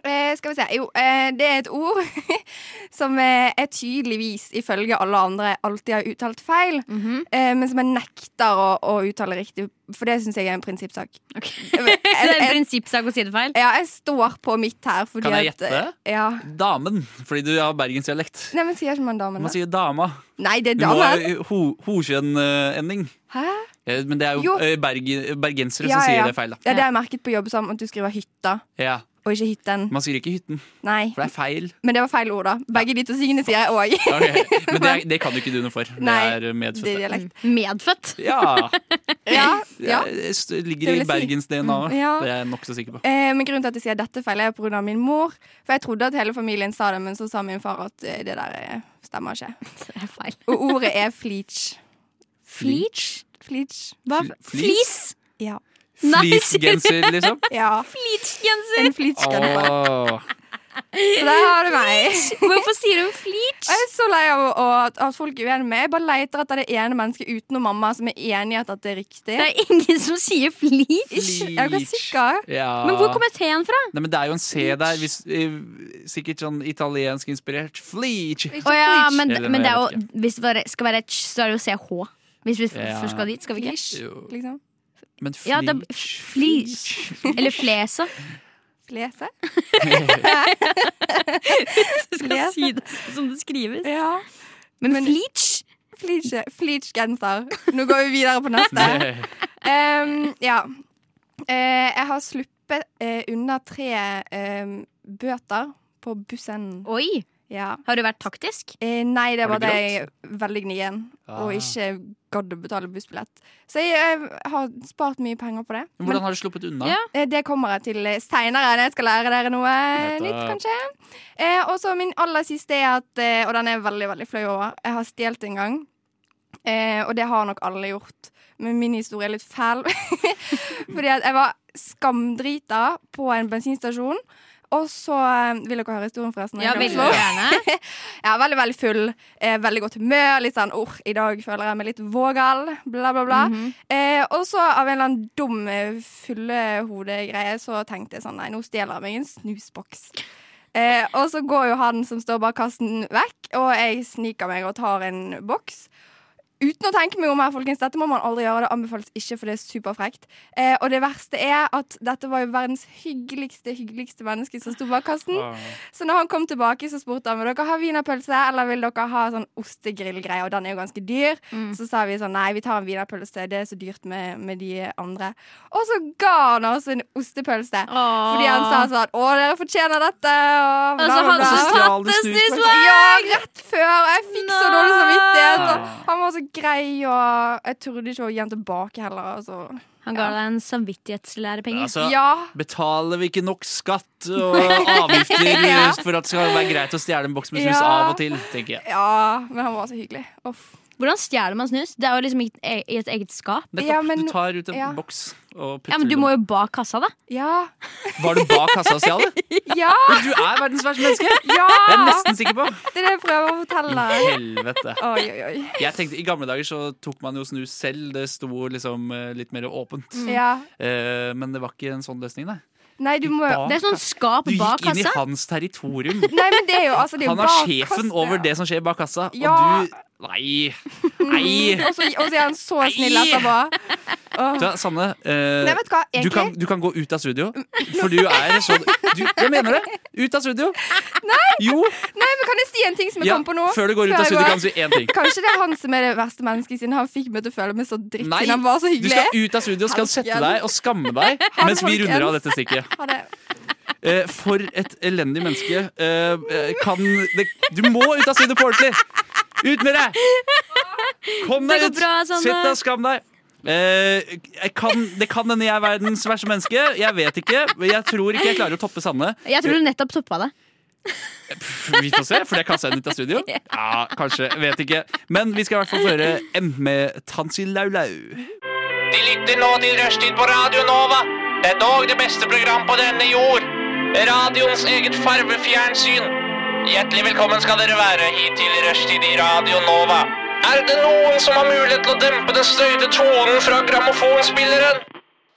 Eh, skal vi se. Jo, eh, det er et ord *laughs* som eh, jeg tydeligvis, ifølge alle andre, alltid har uttalt feil,
Mhm.
eh, men som jeg nekter å, å uttale riktig, for det syns jeg er en prinsippsak.
Ok. *laughs*
Jeg,
Så det er en
jeg,
prinsippsak å si det feil?
ja, jeg står på mitt her fordi
Kan jeg
at, eh,
gjette?
Ja.
Damen, fordi du har bergensdialekt.
Nei, men sier ikke man damen,
Man
da?
sier dama.
Nei, det er
Du må ha
damen.
ho- ho-kjønn-ending.
Hæ?
Eh, Men det er jo,
Jo.
eh, Berg, bergensere
Ja,
som
ja,
sier
ja.
det feil, da.
Ja, det har jeg merket på jobb som at du skriver hytta,
Ja.
og ikke hytten.
Man sier ikke hytten,
Nei.
for det er
*laughs*
feil.
Men det var feil ord, da. Begge de to tingene sier jeg òg.
Ok, Men det, er, det kan du ikke du noe for.
Nei,
det er
*laughs*
eh,
Det er
medfødte.
dialekt.
Mm. Medfødt.
Ja,
Mm.
Ja, ja.
Det s- ligger
Det vil
i
jeg si. Mm,
Bergens-DNA-et.
Ja.
Det er jeg nokså sikker på.
Eh, men grunnen til at jeg sier dette feil, er pga. min mor. For jeg trodde at hele familien sa det, men så sa min far at eh, det der eh, stemmer ikke.
*laughs* Det er feil.
Og ordet er fleach.
Fleach?
Fleach.
Hva?
Fl-
Flis?
Ja.
Nei,
Fleecegenser,
*laughs*
liksom.
ja.
Fleachgenser!
En fleach Så
Åh.
der har du meg.
Hvorfor sier hun fleach?
Og jeg er så lei av å- at, at folk er uenige med meg. Jeg bare leter etter det ene mennesket utenom mamma som er enig i at det er riktig.
Det er ingen som sier fleach.
Ikke- Er dere
Fleach.
sikre?
Ja.
Men hvor kommer T-en fra?
Nei, men Det er jo en C der. Hvis, eh, sikkert sånn italiensk inspirert. Fleech!
Å ja, men,
Eller noe,
men det er
jeg
jo, hvis det bare skal være et ch, så er det jo CH. Hvis vi f-
Ja.
først skal dit, skal vi ikke? *laughs*
Fleach,
Jo,
liksom.
Men
Ja, det er
fleech
fleech. Eller *laughs* flesa.
Flese?
Du skal
Flesa.
si det som det skrives.
Ja.
Men,
Men-
fleach?
Fleach- Fleach-genser. Nå går vi videre på neste.
Nei.
Ehm, ja. Eh, jeg har sluppet eh, unna tre ehm, bøter på bussen.
Oi!
Ja.
Har du vært taktisk?
Eh, nei, det
Var
var
det
det jeg veldig gnien
Ah.
*laughs* og ikke gadd å betale bussbillett. Så jeg, eh, har spart mye penger på det.
Men Hvordan har du sluppet unna?
Ja.
Eh, Det kommer jeg til seinere når jeg skal lære dere noe
Nettopp.
nytt, kanskje. Eh, og så min aller siste er at, eh, og den er jeg veldig, veldig flau over, jeg har stjålet en gang. Eh, og det har nok alle gjort, men min historie er litt fæl. *laughs* Fordi at jeg var skamdrita på en bensinstasjon. Og så eh, Vil dere høre historien, forresten?
Ja,
Jeg
veldig
kan slå.
gjerne.
Ja, veldig, veldig full. Eh, veldig godt humør. Litt sånn orr, i dag føler jeg meg litt vågal. Bla, bla, bla. eh, og så av en eller annen dum eh, fyllehodegreie så tenkte jeg sånn Nei, nå stjeler jeg meg en snusboks. Eh, og så går jo han som står bak kassen, vekk, og jeg sniker meg og tar en boks. Uten å tenke meg om her, folkens, dette må man aldri gjøre. Det anbefales ikke, for det er superfrekt. Eh, og det verste er at dette var jo verdens hyggeligste hyggeligste menneske som sto bak kassen. Så når han kom tilbake, så spurte han vil dere ha wienerpølse eller vil dere ha sånn ostegrillgreie, og den er jo ganske dyr. Så sa vi sånn nei, vi tar en wienerpølse, det er så dyrt med, med de andre. Og så ga han oss en ostepølse. Fordi han sa sånn å, dere fortjener dette, og bla,
Og så
bla,
Altså, han
bla.
så
som
stjal
satte
det snusboksen.
snusboksen!
Ja, rett før. Og jeg fikk så dårlig samvittighet. og
Nei.
Han var så grei, og jeg turde ikke å gi han tilbake heller. Altså.
Han ga deg en samvittighetslærepenge.
Altså,
Ja.
Betaler vi ikke nok skatt og avgifter
Ja.
for at det skal være greit å stjele en boks med snus
Ja.
av og til? tenker jeg
ja, men han var så hyggelig. Uff.
Hvordan stjeler man snus? Det er jo liksom i et, e- i et eget skap.
Nettopp,
Ja, men-
Du tar ut en
ja.
boks og putter
Ja, men Du
den.
må jo bak kassa, da.
Ja.
Var du bak kassa og stjal det?
Ja!
Du er verdens verste menneske! Jeg er
ja.
nesten sikker på.
Det er det jeg prøver å fortelle.
Helvete.
Oi, oi, oi.
Jeg tenkte, I gamle dager så tok man jo snus selv. Det sto liksom eh, litt mer åpent.
Ja.
Eh, men det var ikke en sånn løsning, nei.
Nei, du må
Bak-
Det er sånn skap
Du
bak
gikk inn i
kassa.
hans
*laughs*
territorium.
Nei, men det er jo altså det er jo
Han er
bak
sjefen
kassen,
over
ja.
det som skjer bak kassa,
Ja.
og du Nei! Nei!
Og så og så er han så snill
Nei.
etterpå. Åh.
Du, Sanne, eh,
Nei, vet du hva,
du, kan,
egentlig Mm.
du kan gå ut av studio. For du er sånn du, Jeg mener det! Ut av studio! Nei! Jo,
Nei, men kan jeg si en ting som jeg
ja,
kom på nå?
Før du går ut av
jeg
studio, kan du si én ting.
Kanskje det er han som er det verste mennesket, siden han fikk meg til å føle meg så dritt.
Nei,
Siden han var så
du
hyggelig.
skal ut av studio, skal sette deg og skamme deg mens vi runder av dette stikket.
Ha det.
Eh, for et elendig menneske. Eh, eh, kan det, Du må ut av studio på ordentlig! Ut med deg! Kom
Det
deg
går
ut!
bra, Sanne.
Sett deg og skam deg. Eh, jeg kan, det kan hende jeg er verdens verste menneske. Jeg vet ikke. men Jeg tror ikke jeg klarer å toppe Sanne.
Jeg tror du nettopp toppa det.
Pff, Vi får se, for det kasta henne ut av
*laughs*
studio. Ja, kanskje. Vet ikke. Men vi skal i hvert fall høre M med Tansi Laulau.
De lytter nå til Rushtid på Radio Nova. Det er dog det beste program på denne jord. Radioens eget farvefjernsyn. Hjertelig velkommen skal dere være hit til Rushtid i Radio Nova. Er det noen som har mulighet til å dempe den støyte tonen fra grammofonspilleren?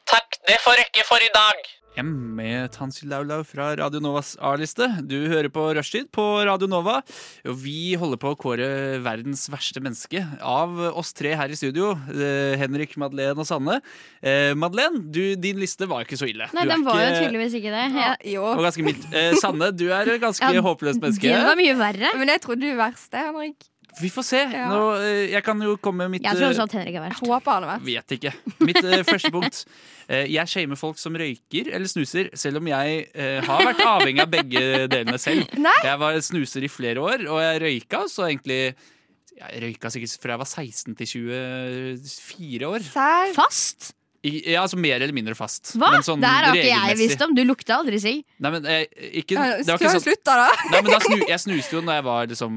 Takk, det får rekke for i dag.
M med Tansi Laulau fra Radio Novas A-liste. Du hører på Rushtid på Radio Nova. Og vi holder på å kåre verdens verste menneske av oss tre her i studio. eh, Henrik, Madeleine og Sanne. Eh, Madeleine, du, din liste var ikke så ille.
Nei,
Du er
den var jo
ikke-
tydeligvis ikke det. Jeg,
Jo.
Og ganske mildt. Eh, Sanne, du er et ganske
Ja,
håpløst menneske.
det var mye verre.
Men jeg trodde du verste, Henrik.
Vi får se.
Ja.
Nå, eh, jeg kan jo komme med mitt
Jeg tror
eh,
også at Henrik er
Jeg
verst.
håper han er verst.
Vet ikke. Mitt eh, første punkt. Eh, jeg shamer folk som røyker eller snuser, selv om jeg eh, har vært avhengig av begge delene selv.
Nei.
Jeg var snuser i flere år, og jeg røyka så egentlig Jeg røyka sikkert fra jeg var 16 til 24 år.
Sær.
Fast?
I, ja, altså mer eller mindre fast.
Hva?
Men sånn
det her har ikke jeg
regelmessig.
visst om. Du lukta aldri sigg.
Nei, men eh, ikke,
Ja,
det var
Skal
ikke
vi
sånn
slutte, da?
Nei, men da snu, jeg snuste jo når jeg var liksom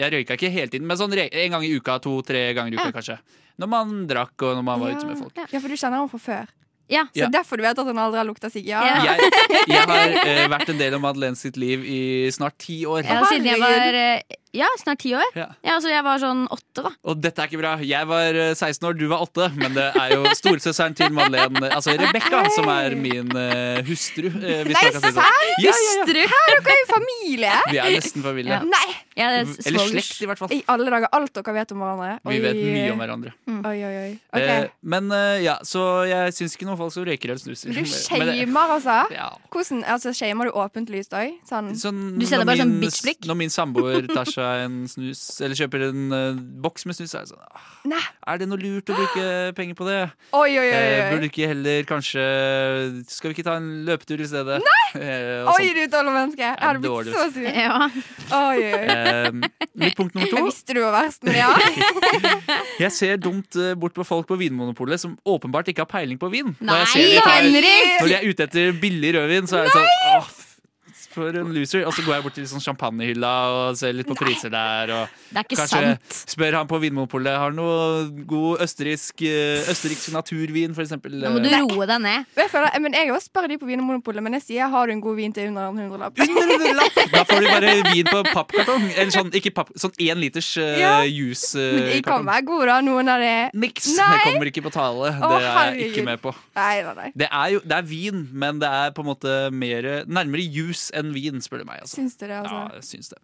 Jeg røyka ikke hele tiden, men sånn re en gang i uka, to-tre ganger i uka, kanskje. Når man drakk, og når man var ute med folk.
Ja, for du kjenner han fra før.
Ja.
Så
Ja.
derfor du vet at han aldri har lukta sigg. Ja.
Ja.
Jeg,
*laughs*
jeg har eh, vært en del av Madeleine sitt liv i snart ti år.
ja, siden jeg var
herregud.
eh, Ja, snart ti år.
Ja.
Ja, altså Jeg var sånn åtte, da.
Og dette er ikke bra. Jeg var eh, 16 år, du var 8. Men det er jo storesøsteren til Madeleine, eh, altså Rebekka, som er min eh, hustru. eh, hvis
Nei,
man kan si det sånn. Ja, ja, ja.
Strø.
Dere er jo familie!
Vi er nesten familie.
Ja.
Nei!
Ja, det er
Eller
svogers.
slekt, i hvert fall.
I alle dager. Alt dere vet om hverandre.
Vi vet mye om hverandre.
Oi, oi, oi.
Eh,
Ok.
men eh, ja, så jeg syns ikke noen folk som røyker eller snuser.
Du
*laughs* Men det-
shamer, altså.
Ja.
Hvordan, altså Shamer du åpent lyst òg? Sånn.
Sånn,
Du sender
når
bare sånn
min-
bitch-blikk.
Når min
*laughs*
samboer tar seg en snus, eller kjøper en eh, boks med snus, så er det sånn ah,
Nei.
Er det noe lurt å
*gasps*
bruke penger på det?
Oi, oi, oi.
Eh,
oi.
burde ikke heller kanskje Skal vi ikke ta en løpetur i stedet? Eh, og
Oi,
sånt.
du *laughs* tåler menneske! Jeg hadde blitt
dårlig.
så sur. Oi,
Ja.
oi, oi.
Eh, mitt punkt nummer
Jeg
to.
visste du var verst, men
*laughs*
ja.
Jeg ser dumt eh, bort på folk på Vinmonopolet som åpenbart ikke har peiling på vin.
Nei,
når, jeg ser de tar,
Henrik!
når de er ute etter billig rødvin, så er det sånn åh, f- for en loser. Og så går jeg bort til sånn champagnehylla og ser litt på priser der. Og
Det er ikke
kanskje
sant.
spør han på Vinmonopolet har han noe god østerriksk, eh, østerriksk naturvin, for eksempel.
Nå må du
Eh,
roe deg ned.
Og Jeg, føler, men jeg også spør de på Vinmonopolet, men jeg sier 'har du en god vin til under
*laughs*
en hundrelapp'?
Eh, under en lapp. Da får du bare vin på pappkartong. Eller sånn ikke papp, sånn én liters eh,
Ja. Men de kan
juicekartong.
være gode, da. Noen av det
Niks!
Nei.
Det kommer ikke på tale.
Å,
Det er jeg
herregud.
ikke med på.
Nei, nei, nei.
Det er jo det er vin, men det er på en måte mer, nærmere jus enn vin, spør du meg. Altså.
Syns du det,
Ja,
altså?
jeg syns det.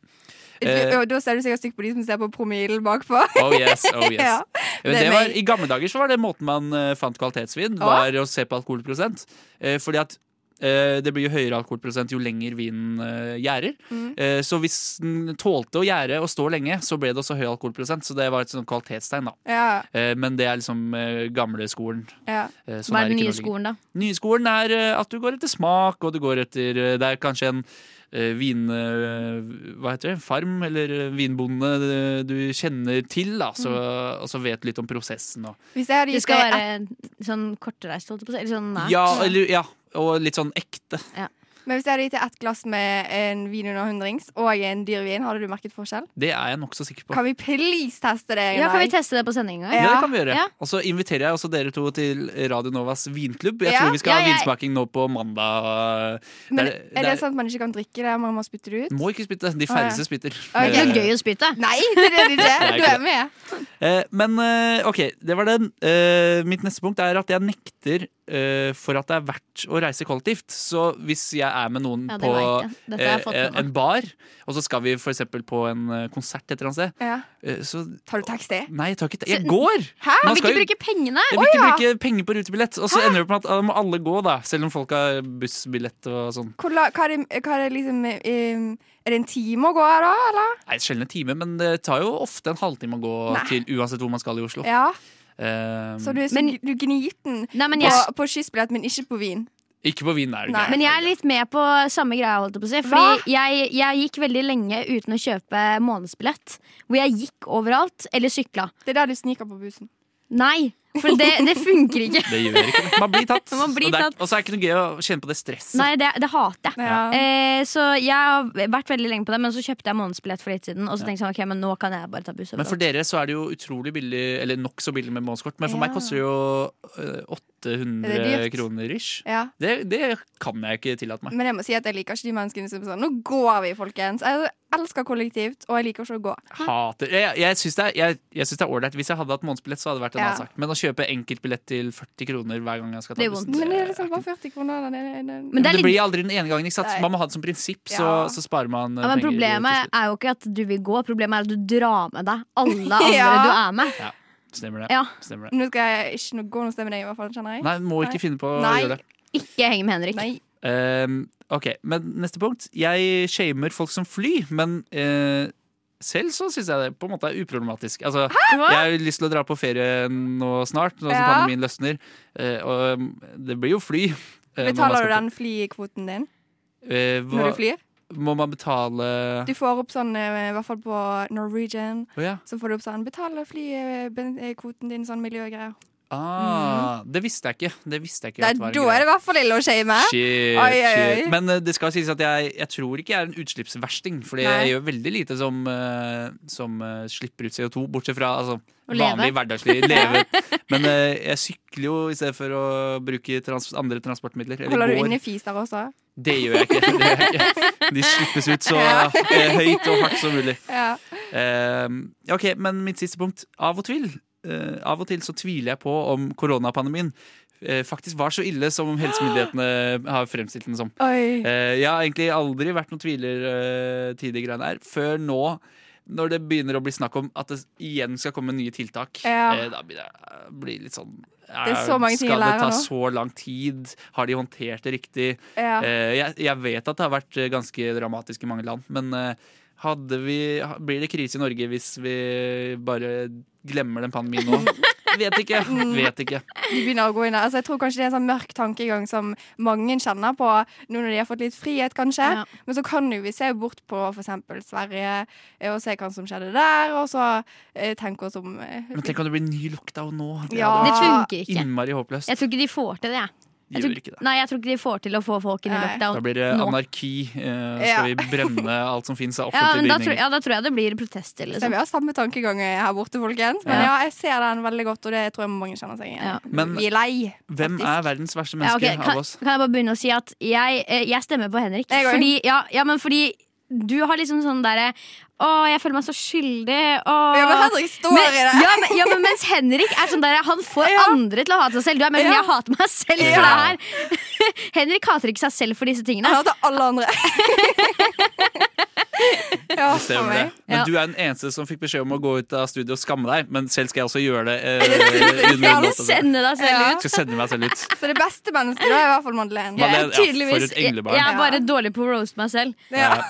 Du-
eh.
og da ser du sikkert stygt på de som ser på promillen bakpå.
Oh yes, oh
*laughs*
yes.
Ja,
Men
det
det
er
var,
meg.
I gamle dager så var det måten man eh, fant kvalitetsvin, var å se på alkoholprosent. Eh, fordi at eh, det blir jo høyere alkoholprosent jo lenger vinen eh, gjærer. Eh, så hvis den tålte å gjære og stå lenge, så ble det også høy alkoholprosent. Så det var et sånt kvalitetstegn, da.
Ja,
Eh, men det er liksom eh, gamle skolen.
ja.
Eh, sånn
Hva
er
er den
ikke nå
nye
lenger.
skolen, da?
Nye skolen er eh, at du går etter smak, og du går etter eh, Det er kanskje en eh, vin... eh, Hva heter det? Farm, eller eh, vinbonde eh, du kjenner til, da, så, og så vet du litt om prosessen og
Hvis jeg hadde
Det
gitt
skal
deg
være sånn kortreist, holdt jeg på å si. Eller sånn nært.
ja, eller, ja, og litt sånn ekte.
ett- Men hvis jeg hadde gitt deg ett glass med en vin under hundrings og en dyr vin, hadde du merket forskjell?
Det er jeg nokså sikker på.
Kan vi please teste det?
Ja, kan vi
Einar?
teste det på sending en gang?
Ja, det
Ja,
kan vi gjøre.
ja.
Og så inviterer jeg også dere to til Radio Novas vinklubb. Jeg
Ja,
tror vi skal
ja,
ha
jeg-
vinsmaking nå på mandag.
Men
Det
er det sant at man ikke kan drikke det? Man må spytte det ut?
Må ikke spytte. De
ja.
færreste spytter.
Ok.
Det er
Eh,
jo gøy å spytte.
Nei, det er det
Nei,
ikke. Du
ikke
er
det.
med.
Eh, men eh, ok, det var den. Eh, mitt neste punkt er at jeg nekter eh, for at det er verdt å reise kollektivt. Så hvis jeg er med noen
Ja, det
på
vet jeg. Dette har jeg fått
eh,
med meg.
en bar, og så skal vi f.eks. på en eh, konsert et eller annet sted,
Ja.
eh, så
Tar du taxi?
Nei, jeg tar ikke det. Jeg
Så-
går!
Hæ?
Han
Man
vil
skal
ikke
jo-
bruke pengene!
jeg vil ikke
Å,
bruke penger på rutebillett, og så ender det på at da må alle gå, da. Selv om folk har bussbillett og sånn.
Hvor la, hva, er det, hva er det liksom um, Er det en time å gå her, da? Eller?
Nei, sjelden en time, men det tar jo ofte en halvtime å gå
Nei.
til, uansett hvor man skal i Oslo.
Ja.
Eh,
Så du er så
Men-
gn- du er gniten
Nei, men
på,
jeg,
på skyssbillett, men ikke på vin.
Ikke på Wien, er det
Nei.
greit.
men jeg er litt med på samme greia, holdt jeg på å si.
Hva?
Fordi jeg, jeg gikk veldig lenge uten å kjøpe månedsbillett. Hvor jeg gikk overalt, eller sykla.
Det er der du sniker på bussen.
Nei! For det, det funker
*laughs*
ikke.
Det gjør ikke det. Man blir tatt.
Man blir
og, det er,
tatt.
og så er det ikke noe gøy å kjenne på det stresset.
Nei, det, det hater jeg.
Ja.
Eh, så jeg har vært veldig lenge på det, men så kjøpte jeg månedsbillett for litt siden. Og så tenkte jeg sånn, ok, men nå kan jeg bare ta buss
Men for
overalt.
dere så er det jo utrolig billig, eller nokså billig med månedskort. Men for
Ja.
meg koster det jo eh, 800
Er det dyrt?
kroner ish.
Ja.
Det, det kan jeg ikke tillate meg.
Men jeg må si at jeg liker ikke de menneskene som er sånn Nå går vi, folkens! Jeg elsker kollektivt, og jeg liker ikke å gå.
Hater. Jeg, jeg syns det er- jeg- jeg syns det er ålreit. Hvis jeg hadde hatt månedsbillett, så hadde det vært en
Ja.
annen sak. Men å kjøpe enkeltbillett til 40 kroner hver gang jeg skal ta
Det er vondt.
bussen
Men det er liksom
ikke-
bare 40 kroner. da. Det, det, det.
Men det
det
er litt
blir aldri den ene gangen. Ikke sant?
Nei.
Man må ha det som prinsipp, så,
Ja.
så sparer man eh,
ja, men
penger. til
Problemet
slutt.
er jo ikke at du vil gå, problemet er at du drar med deg alle
*laughs*
andre
Ja.
du er med.
Stemmer det.
Ja,
Stemmer det.
Nå skal jeg ikke noe, gå noe sted med deg, i hvert fall. Kjenner jeg.
Nei, må ikke finne på å
Nei.
gjøre det.
Ikke heng med Henrik.
Nei.
Ehm, ok, men neste punkt. Jeg shamer folk som fly, men eh, selv så syns jeg det på en måte er uproblematisk. Altså, jeg har jo lyst til å dra på ferie nå snart, nå som
Ja.
pandemien løsner. Eh, og um, det blir jo fly. eh, når man
Betaler
skal
du den flykvoten din
på- Eh, hva,
når du flyr?
Må man betale
Du får opp sånn, eh, i hvert fall på Norwegian,
Å ja.
så får du opp sånn Betaler flykvoten eh, din sånn miljøgreier.
Ah, Det visste jeg ikke. Det visste jeg ikke.
Mhm. Nei,
at var en
da
greie.
er det i hvert fall ille å shame. eh?
Shit,
Oi, oi, oi.
shit. Men eh, det skal sies at jeg, jeg tror ikke jeg er en utslippsversting. Fordi
Nei.
jeg gjør veldig lite som, eh, som eh, slipper ut CO2, bortsett fra altså,
Å leve.
vanlig hverdagslig
*laughs*
leve. Men eh, jeg sykler jo i stedet for å bruke trans andre transportmidler. Eller
Holder du
går.
inne fis der også?
Det gjør jeg ikke. Det gjør jeg ikke. De slippes
*laughs*
ut så eh, høyt og hardt som mulig.
Ja.
Eh, ok, men mitt siste punkt. Av og til, eh, av og til så tviler jeg på om koronapandemien eh, faktisk var så ille som
*gasps*
helsemyndighetene har fremstilt den som.
Oi.
Eh, jeg har egentlig aldri vært noen tviler eh, til de greiene her, før nå. Når det begynner å bli snakk om at det igjen skal komme nye tiltak.
Ja.
eh, da blir det eh, blir litt sånn
er
eh,
så mange ting å
Skal det
lære
ta
nå.
så lang tid? Har de håndtert det riktig?
Ja.
Eh, jeg, jeg vet at det har vært eh, ganske dramatisk i mange land, men eh, hadde vi, ha- blir det krise i Norge hvis vi bare glemmer den pandemien
*laughs*
nå? vet ikke.
Mm.
Vet ikke.
De begynner å gå inn der. Altså, jeg tror kanskje det er en sånn mørk tankegang som mange kjenner på nå når de har fått litt frihet, kanskje.
Ja.
Men så kan jo vi se bort på f.eks. Sverige eh, og se hva som skjedde der, og så eh, tenke oss om eh,
Men tenk om det blir ny lockdown nå. Det
Ja.
Det
hadde
funker
vært
ikke.
innmari håpløst.
Jeg tror ikke de får til det, jeg.
De
Jeg
gjør
tror,
ikke det.
nei, jeg tror ikke de får til å få folk inn i
Nei.
lockdown
Da blir det
nå.
anarki. Eh,
Ja.
skal vi brenne alt som fins av
*laughs* Ja, men
offentlige
da tror,
bygninger?
ja, da tror jeg det blir protester.
Så
Liksom.
vi har samme tankegang eh, her borte, folkens. Men
Ja.
ja, jeg ser den veldig godt, og det tror jeg mange kjenner seg igjen i.
Ja.
Men-
Vi er lei.
Hvem
faktisk.
er verdens verste
Ja,
menneske
ok, kan,
av oss?
kan jeg bare begynne å si at jeg, eh, jeg stemmer på Henrik.
Jeg går.
Fordi, ja, ja, men fordi du har liksom sånn derre Å, jeg føler meg så skyldig. Å.
Ja, men Henrik står
Men-
i det.
Ja men, ja, men mens Henrik er sånn der Han får
*laughs* Ja.
andre til å hate seg selv. Du er mer sånn
Ja.
'jeg hater meg selv for det
Ja.
her'. *laughs* Henrik hater ikke seg selv for disse tingene.
Jeg hater alle
*laughs*
andre. ja,
Det
for
stemmer det.
meg.
Men
Ja.
du er den eneste som fikk beskjed om å gå ut av studio og skamme deg. Men selv skal jeg også gjøre det. Eh, under
*laughs* Skal du
låta.
sende deg selv
Ja.
ut?
skal sende meg selv ut.
Så det beste mennesket da er i hvert fall Madeleine.
Ja.
Jeg er
Madeleine, for et
tydeligvis- jeg-
englebarn.
Jeg er
Ja.
bare dårlig på å roaste meg selv.
Ja.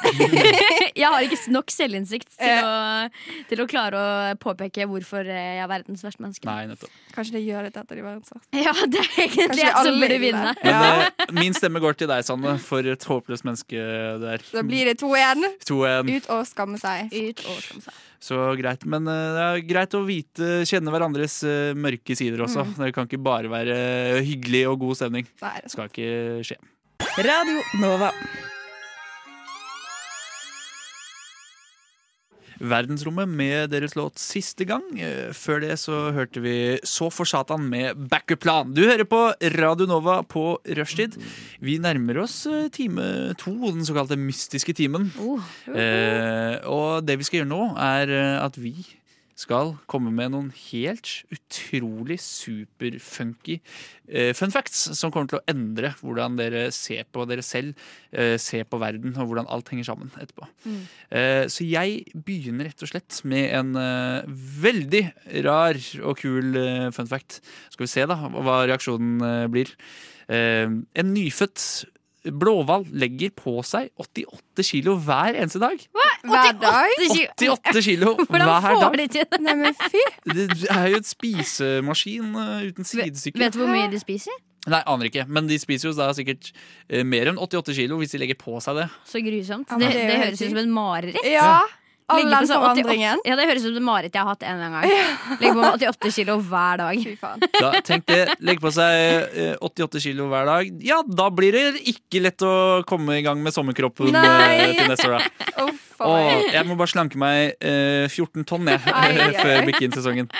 Jeg har ikke s- nok selvinnsikt
Eh.
til, å, til å klare å påpeke hvorfor eh, jeg er verdens verste menneske.
Nei, nettopp.
Kanskje det gjør det til et av de verdens verste.
*laughs* Ja, det er egentlig
Kanskje
jeg som
alle
burde
vil
vinne.
det.
Men
Ja.
eh, min stemme går til deg, Sanne, for et håpløst menneske der.
Da blir det 2-1.
2-1.
Ut og skamme seg.
Ut og skam seg.
Så greit. Men eh, det er greit å vite, kjenne hverandres eh, mørke sider også.
Mm.
Det kan ikke bare være hyggelig og god stemning.
Nei,
Det skal ikke skje.
Radio Nova.
verdensrommet med deres låt siste gang. Eh, Før det så hørte vi Så for satan med backup-plan. Du hører på Radio Nova på rushtid. Vi nærmer oss eh, time to, den såkalte mystiske timen.
Oh.
Eh, og det vi skal gjøre nå, er eh, at vi skal komme med noen helt utrolig superfunky eh, fun facts som kommer til å endre hvordan dere ser på dere selv, eh, ser på verden og hvordan alt henger sammen etterpå.
Mm.
Eh, så jeg begynner rett og slett med en eh, veldig rar og kul eh, fun fact. Skal vi se da hva reaksjonen eh, blir. Eh, en nyfødt blåhval legger på seg 88 kilo hver eneste dag.
Hver dag?
88 kilo hver
*laughs* Hvordan får
dag!
de til det?
Nei, men fy.
Det er jo et spisemaskin eh, uten sidestykke.
Vet du hvor mye de spiser?
Nei, aner ikke. Men de spiser jo da sikkert eh, mer enn 88 kilo hvis de legger på seg det.
Så grusomt.
Ja, men
Det,
det er jo
det
helt
høres ut
sykt.
som en mareritt.
Ja. All
Ligge på
den
sånn 88
forandringen.
Ja, det høres ut som et mareritt jeg har hatt en eller annen gang. Legge på meg 88 kilo hver dag.
Fy faen.
Da, tenk det. Legg på seg eh, 88 kilo hver dag. Ja, da blir det ikke lett å komme i gang med sommerkroppen eh,
Nei.
til neste år, da.
Oh,
Åh,
*laughs* faen.
jeg må bare slanke meg eh, 14 tonn, jeg,
Ai, ai,
*laughs* før
ai.
Bikkin-sesongen.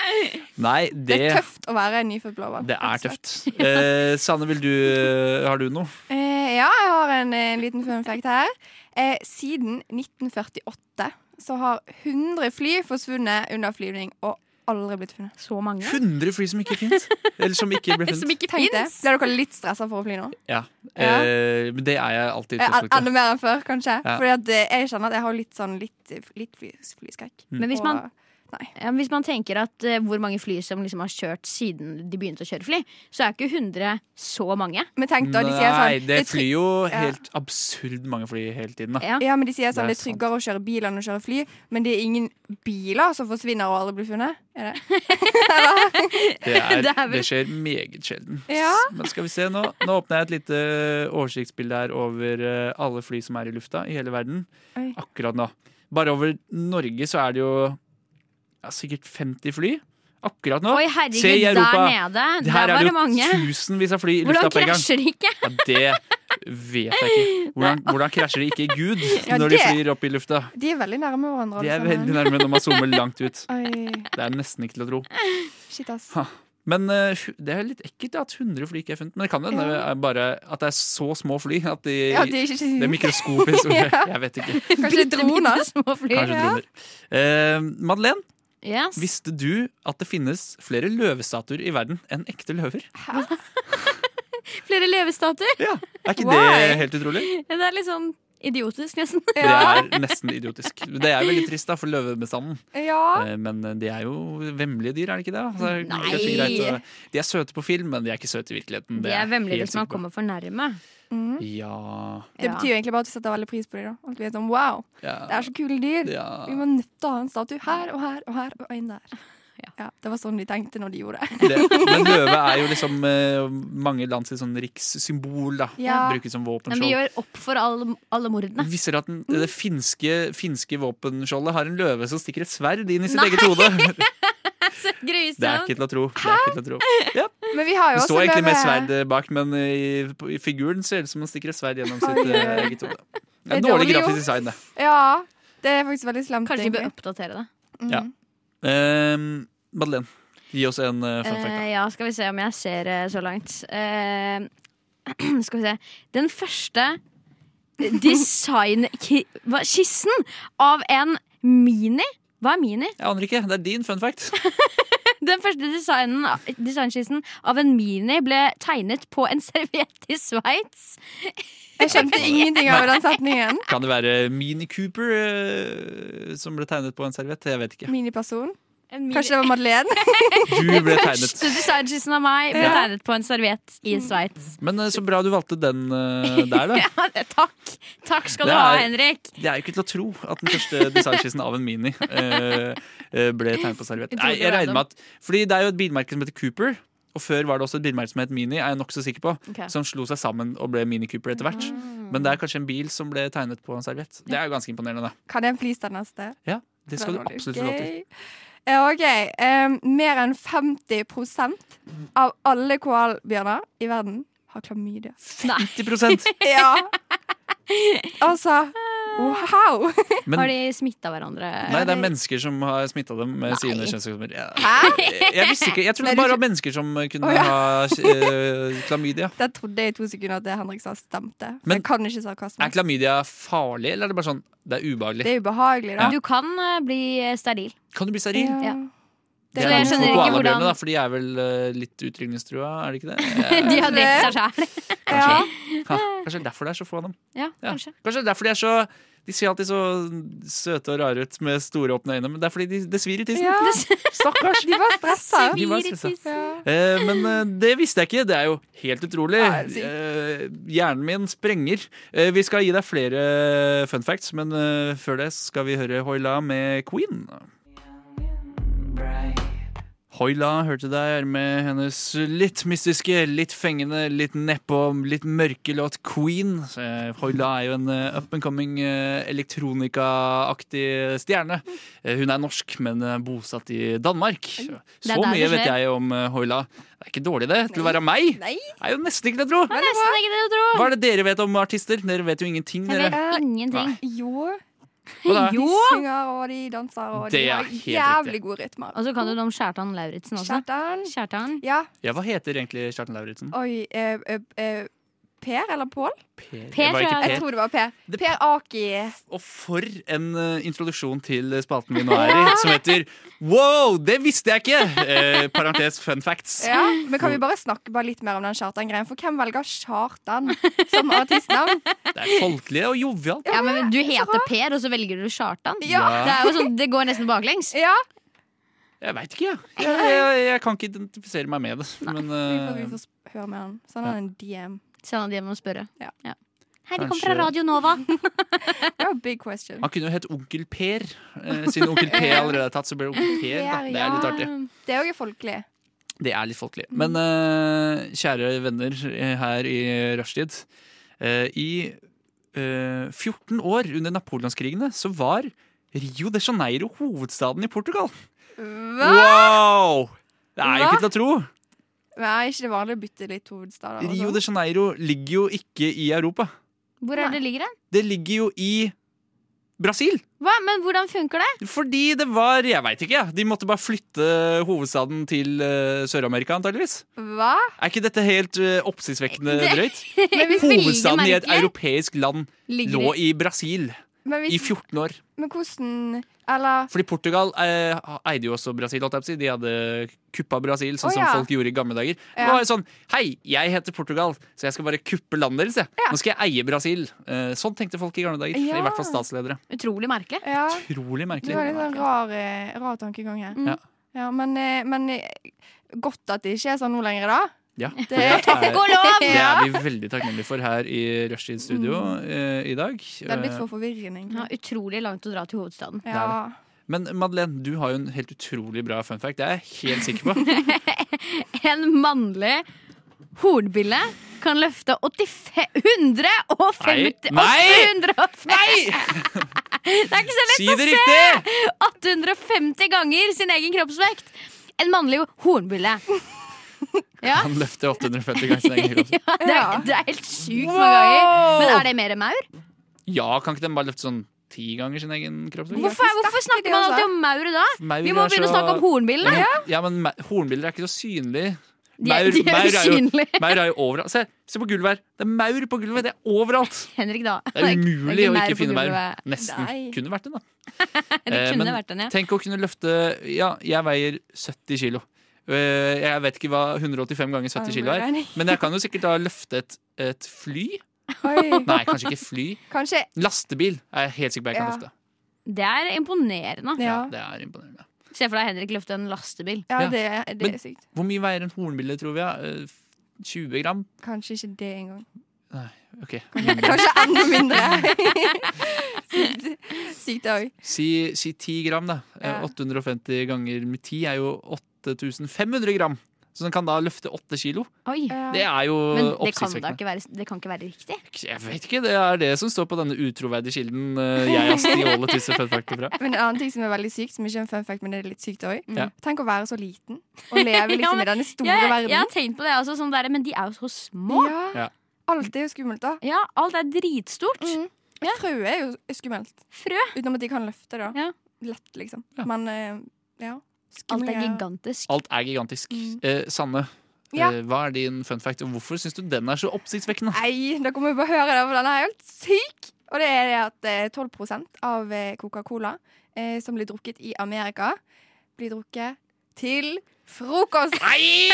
Nei,
Det
det,
er tøft å være en nyfødt blåhval.
det
rett og
er
slett.
tøft. Eh, Sanne, vil du eh, Har du noe?
Eh, ja, jeg har en eh, liten fun fact her. Eh, siden 1948 så har 100 fly forsvunnet under flyvning og aldri blitt funnet.
Så mange. *laughs*
100 fly som ikke fins? Eller som ikke
*laughs*
ble funnet?
ikke
Tenk det. Blir dere litt stressa for å fly nå?
Ja.
Ja.
Eh, men det er jeg alltid. i
Eh, en-
utgangspunktet.
enda mer enn før, kanskje.
Ja.
Fordi at eh, jeg kjenner at jeg har litt sånn litt, litt fly, flyskrekk.
Mm.
Men hvis man,
Og- eh,
ja, hvis man tenker at eh, hvor mange fly som liksom har kjørt siden de begynte å kjøre fly, så er ikke 100 så mange.
Men tenk da, de sier
Nei,
sånn
det
er tryg-
flyr jo
Ja.
helt absurd mange fly hele tiden.
*laughs*
Da.
Ja.
Ja, men de sier
Det er
sånn, det er
sant.
tryggere å kjøre bil enn å kjøre fly, men det er ingen biler som forsvinner og aldri blir funnet. Er det?
Det, er,
Det
det,
er vel-
skjer meget sjelden.
Ja.
Men skal vi se Nå Nå åpner jeg et lite eh, oversiktsbilde her over eh, alle fly som er i lufta i hele verden.
Oi.
Akkurat nå. Bare over Norge så er det jo ja, sikkert 50 fly. Akkurat nå.
Oi,
Se i
herregud, der
Europa. Det
nede. Der
her
var
er
det
det
mange.
jo tusenvis av fly i lufta
Hvordan
på en gang.
krasjer de ikke?
Ja, det vet jeg ikke.
*laughs*
Hvordan, hvordan krasjer de ikke i Gud
Ja,
når de
det-
flyr opp i lufta?
De er veldig nærme hverandre.
De er
alle
sånn
sammen.
veldig nærme når man
*laughs*
zoomer langt ut.
Oi,
Det er nesten ikke til å tro.
shit ass.
Men eh, hu- det er litt ekkelt ja, at 100 fly ikke er funnet. Men det kan hende
Ja.
det er bare at det er så små fly at de
Ja, de er ikke
Det er
*laughs*
mikroskopisk.
Ja.
Jeg vet ikke.
Kanskje det er droner?
Bittesmå fly.
Kanskje
Ja.
droner. Eh, Madeleine,
Yes.
visste du at det finnes flere løvestatuer i verden enn ekte løver?
Flere levestatuer.
Ja, Er ikke
Why?
det helt utrolig?
*laughs*
Det er litt sånn idiotisk, nesten.
Ja.
Det er nesten idiotisk. Det er veldig trist da, for løvebestanden.
ja.
Eh, Men de er jo vemmelige dyr, er det ikke det? Så det er
Nei.
kanskje greit å- De er søte på film, men de er ikke søte i virkeligheten.
De er vemmelige hvis man
kommer
kommer for nærme.
Ja,
Det betyr jo egentlig bare at du setter veldig pris på dem. da. At vi er sånn, wow, Det
ja.
er så kule dyr.
ja.
Vi må nødt til å ha en statue her og her og her og en der. Ja. det var sånn de tenkte når de gjorde det. *laughs*
Det, men løve er jo liksom eh, mange land sitt sånn rikssymbol, da.
Ja.
Brukes som
Men vi
våpenskjold.
gjør opp for alle, alle mordene.
Viser at den, det finske, finske våpenskjoldet har en løve som stikker et sverd inn i sitt eget hode. Det er
Grusomt.
ikke til å tro. Det, er ikke til å tro. Ja.
Men vi har jo
det
også
står egentlig med
løve-
sverd eh, bak, men i, på- i figuren ser det ut som man stikker et sverd gjennom sitt
Oi, oi,
eh,
oi.
eget hode. Det er
Det er
dårlig
dårlig
grafisk
gjort.
design, det.
Ja, det er faktisk veldig slemt.
Kanskje vi bør
egentlig.
oppdatere det.
Mm.
Ja. Ehm, Madeleine, gi oss en uh, fun fact. da.
Eh, ja, skal vi se om jeg ser eh, så langt. Eh, *clears throat* skal vi se. Den første designkissen av en mini Hva er mini?
Jeg aner ikke. Det er din fun fact.
Den første designen, designskissen av en mini ble tegnet på en *laughs* serviett i Sveits.
Jeg skjønte ingenting av den setningen.
Kan det være Mini Cooper eh, som ble tegnet på en serviett? Jeg vet ikke.
Miniperson.
En mini-
Kanskje det var Madeleine? *laughs*
Du
*laughs*
ble tegnet.
Første designskissen av meg ble
Ja.
tegnet på en serviett i Sveits. *laughs*
Men eh, så bra du valgte den eh, der, da.
Ja, det- takk. Takk skal
Det
du ha,
er-
Henrik.
Det er jo ikke til å tro at den første designskissen av en Mini eh, eh, ble tegnet på serviett.
Utrolig
Nei, jeg regner
random.
med at Fordi det er jo et bilmerke som heter Cooper. Og før var det også et bilmerke som het Mini, er jeg nokså sikker på.
Ok.
Som slo seg sammen og ble Mini Cooper etter hvert. Men det er kanskje en bil som ble tegnet på en serviett. Det er jo ganske imponerende.
Kan jeg please ta neste?
Ja, det skal du
Den var litt
absolutt få lov til.
gøy. Eh, OK. em, mer enn 50 av alle koalbjørner i verden har klamydia.
50
Ja.
*laughs*
Altså wow!
Men
Har de smitta hverandre?
Nei, det er mennesker som har smitta dem med sine kjønnssykdommer. Ja.
Hæ?
Jeg visste ikke, jeg trodde
Nei, du
bare det
tro-
var mennesker som kunne
Å, ja.
ha eh, klamydia.
Der trodde jeg i to sekunder at det Henrik sa, stemte. For
Men-
jeg kan ikke sarkasme.
Er klamydia farlig, eller er det bare sånn det er
Det
ubehagelig?
er ubehagelig, da.
Du kan eh, bli eh, steril.
Kan du bli steril?
Ja.
Det
Så
er
jeg
litt
litt
skjønner
for
ikke
koalabjørnene,
hvordan-
da, For de er vel eh, litt utrykningstrua, er det ikke det?
*laughs*
Eh,
De har drept seg sjæl.
Ja.
ha, kanskje derfor det er så få av dem.
Ja,
Ja.
kanskje.
Kanskje derfor de er så De ser alltid så søte og rare ut med store, åpne øyne, men det er fordi de, det svir i tissen.
Ja.
*laughs*
Stakkars!
De var stressa.
De var stressa.
Ja.
Eh, men eh, det visste jeg ikke. Det er jo helt utrolig.
Ja, det er
Eh, hjernen min sprenger. Eh, vi skal gi deg flere fun facts, men eh, før det skal vi høre Hoila med Queen. Hoila hørte der med hennes litt mystiske, litt fengende, litt nedpå, litt mørke låt Queen. Eh, Hoila er jo en eh, up and coming eh, elektronikaaktig stjerne. Eh, Hun er norsk, men eh, bosatt i Danmark.
Det er
Så
der
mye
det
vet
skjer.
jeg om eh, Hoila. Det er ikke dårlig, det. Til å være meg.
Nei.
Det er jo nesten ikke til å tro.
Nesten ikke det du tror.
Hva er det dere vet om artister? Dere vet jo ingenting,
Jeg
dere.
vet ingenting.
Nei.
Jo.
Og da-
Jo.
De synger, og de danser, og
Det
de
er
har
helt
jævlig gode rytmer.
Og så kan du det om Kjartan Lauritzen også.
Kjartan.
Kjartan.
Ja.
Ja, hva heter egentlig Kjartan Lauritzen?
Oi. eh, eh, eh, per eller Pål?
Per,
Per,
var ikke
tror
Jeg
per.
tror det var Per.
Det-
Per Aki.
Og for en eh, introduksjon til spalten vi nå er i, som heter Wow, det visste jeg ikke! Eh, parentes fun facts.
Ja. Men kan vi bare snakke bare litt mer om den Kjartan-greien? For hvem velger Kjartan som artistnavn?
Det er folkelig og jovialt.
Ja, men Du heter Per, og så velger du Kjartan.
Ja.
Det, er jo sånn, det går nesten baklengs.
Ja.
Jeg veit ikke, jeg. Jeg, jeg. jeg kan ikke identifisere meg med det. Men
Vi får, vi
eh,
får sp- høre med han. Send han en DM.
Send han hjem og spørre.
Ja.
Hei, vi kommer
Kanskje-
fra Radio Nova.
Det var big question.
han kunne jo hett Onkel Per. Eh, siden Onkel
*laughs*
P allerede er tatt, så ble det Onkel Per. Da. Det er litt artig.
Det er jo folkelig.
Det er litt folkelig. Men eh, kjære venner eh, her i rushtid. eh, I eh, 14 år under napoleonskrigene så var Rio de Janeiro hovedstaden i Portugal.
Hva?
Wow! Det er jo ikke til å tro.
Men er ikke det vanlig å bytte litt hovedstader? og
Rio
sånn?
de Janeiro ligger jo ikke i Europa.
Hvor er det ligger den?
Det ligger jo i Brasil.
Hva? Men hvordan funker det?
Fordi det var Jeg veit ikke, jeg. De måtte bare flytte hovedstaden til eh, Sør-Amerika, antageligvis.
Hva?
Er ikke dette helt eh, oppsiktsvekkende
Det-
drøyt?
*laughs*
*laughs*
Men vi
Hovedstaden i et europeisk land
Ligger
lå
i-
i Brasil
Men,
i
hvis,
14 år.
men hvordan Eller
Fordi Portugal eh, eide jo også Brasil. holdt jeg på å si. De hadde kuppa Brasil, sånn
Å, ja.
som folk gjorde i gamle dager.
Ja.
Det var jo sånn Hei, jeg heter Portugal, så jeg skal bare kuppe landet deres. jeg. Nå skal jeg eie Brasil. Eh, sånn tenkte folk i gamle dager.
Ja.
I hvert fall statsledere.
Utrolig merkelig.
Ja.
Utrolig
Det
merkelig.
var litt sånn rar, eh, rar tankegang her.
Ja.
Ja, men, eh, men eh, godt at det ikke er sånn nå lenger, da.
Ja. Det,
Det-
er,
Gå lov!
det er vi veldig takknemlige for her i Rushtid Studio eh, i dag.
Mm. Det hadde blitt
Eh,
for forvirrende.
*laughs* Ja,
egentlig.
utrolig langt å dra til hovedstaden.
Ja.
Eh, Men Madeleine, du har jo en helt utrolig bra fun fact. Det er jeg helt sikker på.
*laughs*
En mannlig hornbille kan løfte 85 150
Nei!
850
Nei!
*laughs* Det er ikke så lett
Si det riktig!
850 ganger sin egen kroppsvekt. En mannlig hornbille. Ja,
*laughs*
*laughs*
Han løfter 850 ganger sin egen høyde.
det er, det er helt sjukt mange ganger. Men er det mer maur?
Ja, kan ikke den bare løfte sånn ti ganger sin egen kroppsvekt?
Hvorfor, hvorfor snakker man alltid om maur
Maur
da? altså. Vi må
er
begynne å
så-
snakke om hornbiller. da.
Ja, men- Ja, men ma- hornbiller er ikke så synlige.
De er, de er usynlige. *laughs*
maur er jo overalt. Se, se på gulvet her! Det er maur på gulvet! Det er overalt!
Henrik, da.
Det er
*laughs* Det
umulig
er
å
maur
ikke
på
finne maur.
gulvet.
Nesten.
Nei.
Kunne vært det, da.
Det
Eh,
kunne
men-
vært den, ja.
Tenk å kunne løfte Ja, jeg veier 70 kilo. Eh, Jeg vet ikke hva 185 ganger 70 kilo er,
Armberegning.
men jeg kan jo sikkert da løfte et, et fly.
Oi.
*laughs* Nei, kanskje ikke fly.
Kanskje
Lastebil er jeg helt sikker
*laughs*
på jeg kan
Ja.
løfte.
Det er imponerende.
Ja,
Det er imponerende.
Se for deg Henrik løfte en lastebil.
ja det, det
Men-
er sykt.
Hvor mye veier en hornbille, tror vi? ja? Eh, 20 gram?
Kanskje ikke det engang.
Ok.
*laughs*
Kanskje enda mindre. sykt, sykt det òg.
Si, si 10 gram, da. Eh,
Ja.
850 ganger med 10 er jo 8500 gram. Så den kan da løfte 8 kilo.
Oi.
Det er jo
Men det kan,
oppsiktsvekkende.
da ikke være, det kan ikke være riktig.
Jeg vet ikke, det er det som står på denne utroverdige kilden eh, jeg har stjålet disse fun factene fra.
Men en annen ting som er veldig sykt, som ikke er en fun fact, men det er litt sykt òg.
Ja.
Tenk å være så
*laughs*
liten og leve liksom
Ja, men-
i denne store
Jeg, jeg har
verden.
tenkt på det også, sånn der, men de er jo så små.
Ja.
Ja.
Alt er jo skummelt, da.
Ja, alt er dritstort.
Mm.
Ja.
Frø er jo skummelt.
Frø.
Utenom at de kan løfte, da.
Ja.
Lett, liksom.
Ja.
Men eh, ja.
Alt
Skumle
er
greier.
gigantisk.
Alt er gigantisk.
Mm.
Eh, Sanne,
Ja.
eh, hva er din fun fact, og hvorfor syns du den er så oppsiktsvekkende?
Nei, dere må jo bare høre det, for den er helt syk! Og det er det at eh, 12 av eh, Coca-Cola eh, som blir drukket i Amerika, blir drukket til frokost!
*laughs*
Nei!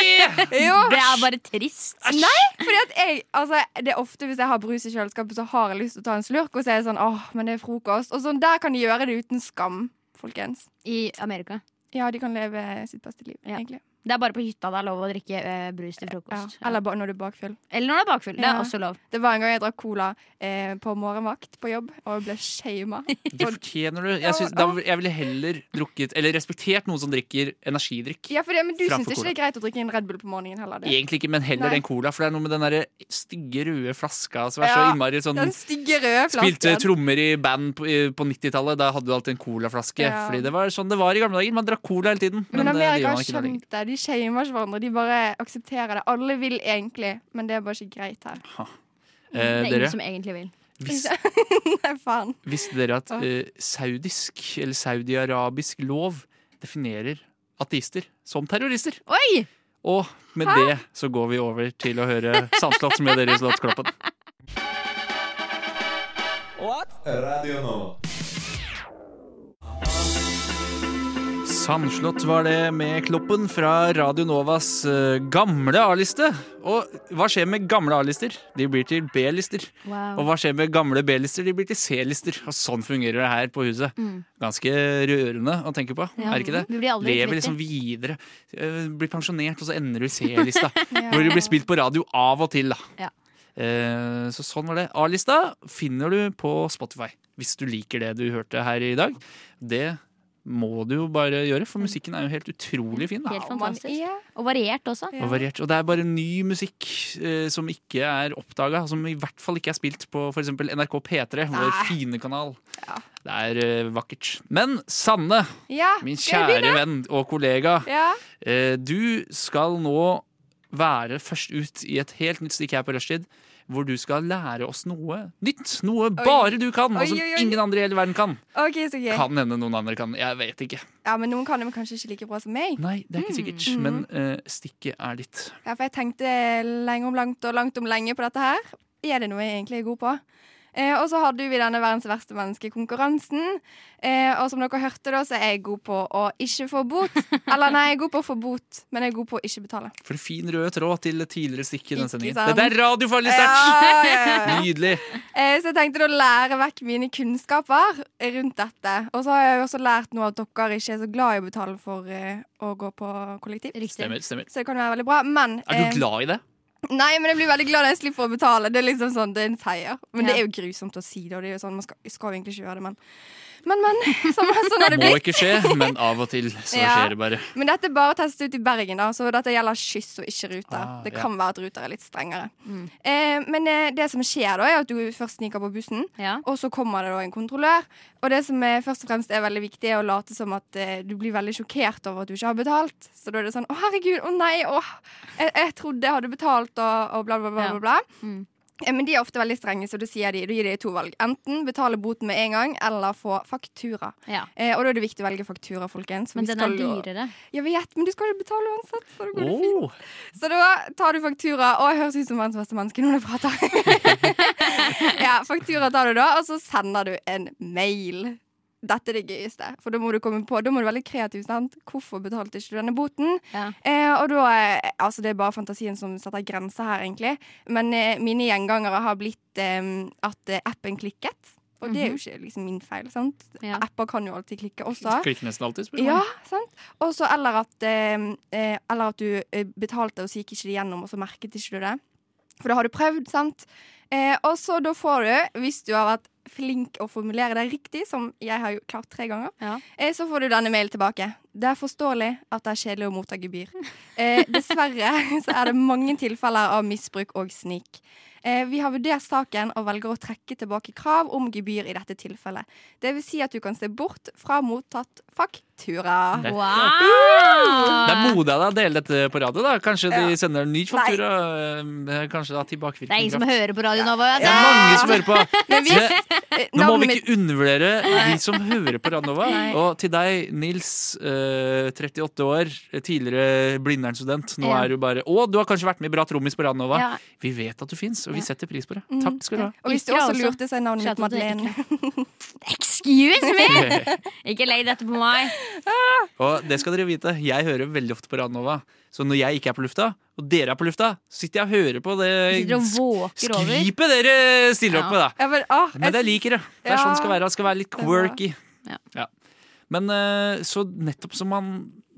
Jo!
Det er bare trist.
Nei, fordi at jeg altså, Det er ofte hvis jeg har brus i kjøleskapet, så har jeg lyst til å ta en slurk, og så er jeg sånn åh, men det er frokost. Og sånn der kan de gjøre det uten skam, folkens.
I Amerika.
Ja, de kan leve sitt beste liv,
Ja.
egentlig.
Det er bare på hytta det er lov å drikke eh, brus til
Ja.
frokost.
Eller ba- når du er bakfull.
Eller når det er bakfull. Det
Ja.
er også lov.
Det var en gang jeg drakk cola eh, på morgenvakt på jobb, og ble shama.
Det fortjener du. Jeg, synes, da, jeg ville heller drukket, eller respektert noen som drikker energidrikk.
Ja, for det, men du
Framfor
syns ikke det er greit å drikke en Red Bull på morgenen heller? Det.
Egentlig ikke, men heller
Nei.
en cola. For det er noe med den der stygge, røde flaska som er så
Ja,
innmari sånn
Den stygge røde
Spilte
flasken.
trommer i band på, i- på 90-tallet. Da hadde du alltid en colaflaske.
Ja.
Fordi det var sånn det var i gamle dager. Man drakk cola hele tiden.
Men
det
Amerika
gjør
har
man eh, ikke nå lenger.
skjønt det. De shamer ikke hverandre. De bare aksepterer det. Alle vil egentlig, men det er bare ikke greit
*laughs*
her.
Eh,
Det er
dere,
ingen som egentlig vil.
vis,
*laughs* Nei, faen.
visste dere at
Åh.
eh, saudisk eller saudiarabisk lov definerer ateister som terrorister?
Oi!
Og med det så går vi over til å høre Sandslott med deres låt 'Kloppen'.
Radio Nova.
Sandslott var det med Kloppen fra Radio Novas eh, gamle A-liste. Og hva skjer med gamle A-lister? De blir til B-lister. Og
Wow.
hva skjer med gamle B-lister? De blir til C-lister. Og sånn fungerer det her på huset. Ganske rørende å tenke på,
Ja.
er det ikke det?
Vi blir aldri
Lever
kvitt
liksom videre. Eh, Blir pensjonert, og så ender du i C-lista. *laughs*
Ja.
Hvor det blir spilt på radio av og til, da.
Ja.
Eh, Så sånn var det. A-lista finner du på Spotify. Hvis du liker det du hørte her i dag. Det må du jo bare gjøre, for musikken er jo helt utrolig fin. Da.
Helt
Og man
fantastisk.
er
liksom-
Og variert også.
Og variert. Og det er bare ny musikk eh, som ikke er oppdaga, som i hvert fall ikke er spilt på f.eks. NRK P3, vår
Nei.
fine kanal.
Ja.
Det er eh, vakkert. Men Sanne,
Ja.
min
Skal jeg
kjære venn og kollega,
begynne? Ja.
eh, du skal nå være først ut i et helt nytt stikk her på Rushtid. Hvor du skal lære oss noe nytt. Noe bare du kan, og
Oi,
som
oi, oi.
ingen andre i hele verden kan.
OK, så gøy.
Kan hende noen andre kan. Jeg vet ikke.
Ja, men noen kan det, men kanskje ikke like bra som meg.
Nei, det er ikke sikkert.
Hmm.
Men eh, stikket er ditt.
Ja, for jeg tenkte lenge om langt og langt om lenge på dette her. Er det noe jeg egentlig er god på? Eh, og så hadde vi denne verdens verste menneske-konkurransen. Eh, og som dere hørte, da, så er jeg god på å ikke få bot. Eller nei, jeg er god på å få bot, men jeg er god på å ikke betale.
For en fin rød tråd til tidligere stikk i den
Ikke
sendingen.
sant?
Dette er radiofaglig sterkt!
Ja, ja,
*laughs*
ja, ja.
Nydelig.
Eh, så jeg tenkte da å lære vekk mine kunnskaper rundt dette. Og så har jeg jo også lært nå at dere ikke er så glad i å betale for eh, å gå på kollektiv.
Riktig.
Stemmer. stemmer.
Så det kan være veldig bra. Men
Er
eh,
du glad i det?
Nei, men jeg blir veldig glad når jeg slipper å betale. Det er liksom sånn, det er en seier. Men det
Ja.
er jo grusomt å si det. Og det er jo sånn, man skal, skal jo egentlig ikke gjøre det, men Men, men. *laughs* Sånn, sånn har det
Må
blitt.
ikke skje, men av og til så
*laughs* Ja.
skjer det bare.
Men dette er bare testet ut i Bergen, da, så dette gjelder skyss og ikke ruter.
Ah,
det
ja.
kan være at ruter er litt strengere. Eh, men eh, det som skjer da, er at du først sniker på bussen,
Ja.
og så kommer det da en kontrollør. Og det som er, først og fremst er veldig viktig, er å late som at eh, du blir veldig sjokkert over at du ikke har betalt. Så da er det sånn 'Å, herregud, å nei, å, jeg, jeg trodde jeg hadde betalt', og, og bla, bla, bla.
Ja.
bla, bla.
Mm.
Eh, Men de er ofte veldig strenge, så du sier de, du gir de to valg. Enten betale boten med en gang, eller få faktura.
Ja.
Eh, og da er det viktig å velge faktura, folkens. for
Men
vi
den er
skal jo-
dyrere.
jeg vet, men du skal jo betale uansett. Så, det går det fint.
Oh,
så da tar du faktura. Å, jeg høres ut som verdens beste menneske når jeg prater.
*laughs*
ja, faktura tar du da, og så sender du en mail. Dette er det gøyeste, for da må du komme på Da må du være litt kreativ. sant? Hvorfor betalte ikke du denne boten?
Ja.
Eh, og da, eh, altså Det er bare fantasien som setter grenser her, egentlig. Men eh, mine gjengangere har blitt eh, at eh, appen klikket. Og det er jo ikke liksom min feil, sant?
Mhm. Ja.
Apper kan jo alltid klikke også.
klikker nesten alltid, spør du
Ja,
meg.
sant. Og så eller at, eh, eh, eller at du eh, betalte, og så gikk ikke det gjennom, og så merket ikke du det. For da har du prøvd, sant. Eh, og så da får du, hvis du har vært flink å formulere deg riktig, som jeg har jo klart tre ganger,
Ja.
eh, så får du denne mailen tilbake. Det er forståelig at det er kjedelig å motta gebyr. Eh, dessverre *laughs* så er det mange tilfeller av misbruk og snik. Eh, vi har vurdert saken og velger å trekke tilbake krav om gebyr i dette tilfellet. Det vil si at du kan se bort fra mottatt faktura.
Nettopp. Det er
Wow!
modig av deg å dele dette på radio. da Kanskje de
Ja.
sender en ny faktura. eh, Kanskje da
Det er
tilbakevirkning.
ingen som
kraft.
hører på Radio Nova.
Det
uansett.
er mange som hører på.
*laughs*
Men vi,
Det-
eh,
Nå må
navnet
vi
mitt-
ikke undervurdere de som hører på Radnova. Og til deg, Nils, eh, 38 år, tidligere Blindern-student. Nå
Ja.
er du bare Å, du har kanskje vært med i Bra trommis på Radnova.
Ja.
Vi vet at du fins, og vi
Ja.
setter pris på det.
Mm,
Takk
*laughs*
skal du ha.
Og hvis du
Ikke
også
altså.
lurte seg navnet mitt
Skjønte at det
Madeleine.
Excuse
*laughs*
me! Ikke legg dette på meg.
Og det skal dere vite, jeg hører veldig ofte på Radnova. Så når jeg ikke er på lufta, og dere er på lufta, så sitter jeg og hører på det
Sitter og våker over.
skvipet dere stiller
Ja.
opp med, da.
Ja, men, ah,
Men det
jeg
jeg liker det. Det er
Ja.
sånn det skal være. Det skal være litt
er bra.
quirky.
Ja.
Ja. Men eh, så nettopp som man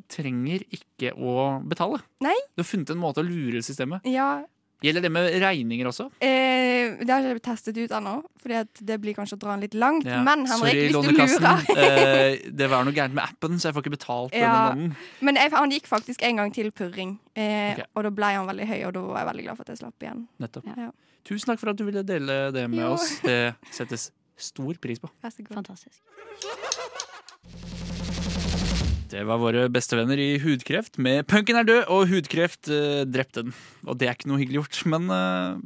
trenger ikke å betale.
Nei.
Du har funnet en måte å lure systemet.
syns- Ja,
Gjelder det med regninger også?
eh, det har ikke blitt testet ut ennå, Fordi at det blir kanskje å dra den litt langt.
Ja.
Men Henrik,
Sorry,
hvis du
Lånekassen. *laughs*
lurer
Eh, det var noe gærent med appen, så jeg får ikke betalt
Ja.
denne måneden.
Men jeg, han gikk faktisk en gang til purring, eh,
Ok.
og da ble han veldig høy, og da var jeg veldig glad for at jeg slapp igjen.
Nettopp.
Ja.
Tusen takk for at du ville dele det med
Jo.
oss. Det settes stor pris på.
Vær så god.
Fantastisk.
Det var våre bestevenner i Hudkreft med 'Punken er død' og 'Hudkreft eh, drepte den'. Og det er ikke noe hyggelig gjort, men eh,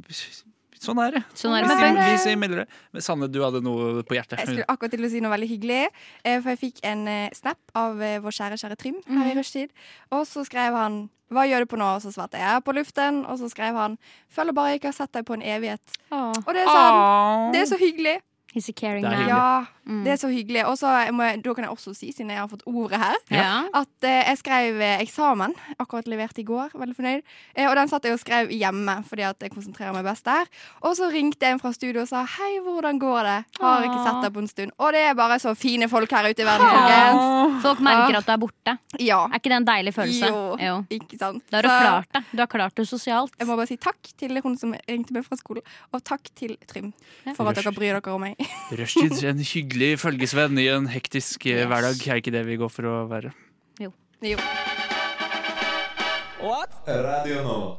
sånn er det.
Sånn er det
Vi sier-
med punk.
Vi sier melder det. Men Sanne, du hadde noe på hjertet.
Jeg skulle akkurat til å si noe veldig hyggelig, eh, for jeg fikk en eh, snap av eh, vår kjære, kjære Trym her i rushtid. Og så skrev han 'Hva gjør du på nå?' Og så svarte jeg 'Jeg er på luften'. Og så skrev han 'Føler bare jeg ikke har sett deg på en evighet'. Og det er sånn.
Åh.
Det er så hyggelig.
sånn- He's a caring
Det er
man.
hyggelig.
Ja,
Mm.
det er så hyggelig. Og så må jeg, da kan jeg også si, siden jeg har fått ordet her,
Ja.
at eh, jeg skrev eh, eksamen. Akkurat levert i går. Veldig fornøyd. Eh, og den satt jeg og skrev hjemme, fordi at jeg konsentrerer meg best der. Og så ringte en fra studio og sa hei, hvordan går det? Har ikke sett deg på en stund. Og det er bare så fine folk her ute i verden, folkens.
Folk merker at du er borte.
Ja.
Er ikke det en deilig følelse?
Jo. Ikke sant.
Da har du
Så
klart det. Du har klart det sosialt.
Jeg må bare si takk til hun som ringte meg fra skolen, og takk til Trym
Ja.
for at dere bryr dere om meg.
Rushtid, en hyggelig følgesvenn i en hektisk eh,
Yes.
hverdag. Er ikke det vi går for å være?
Jo.
Radio Nova.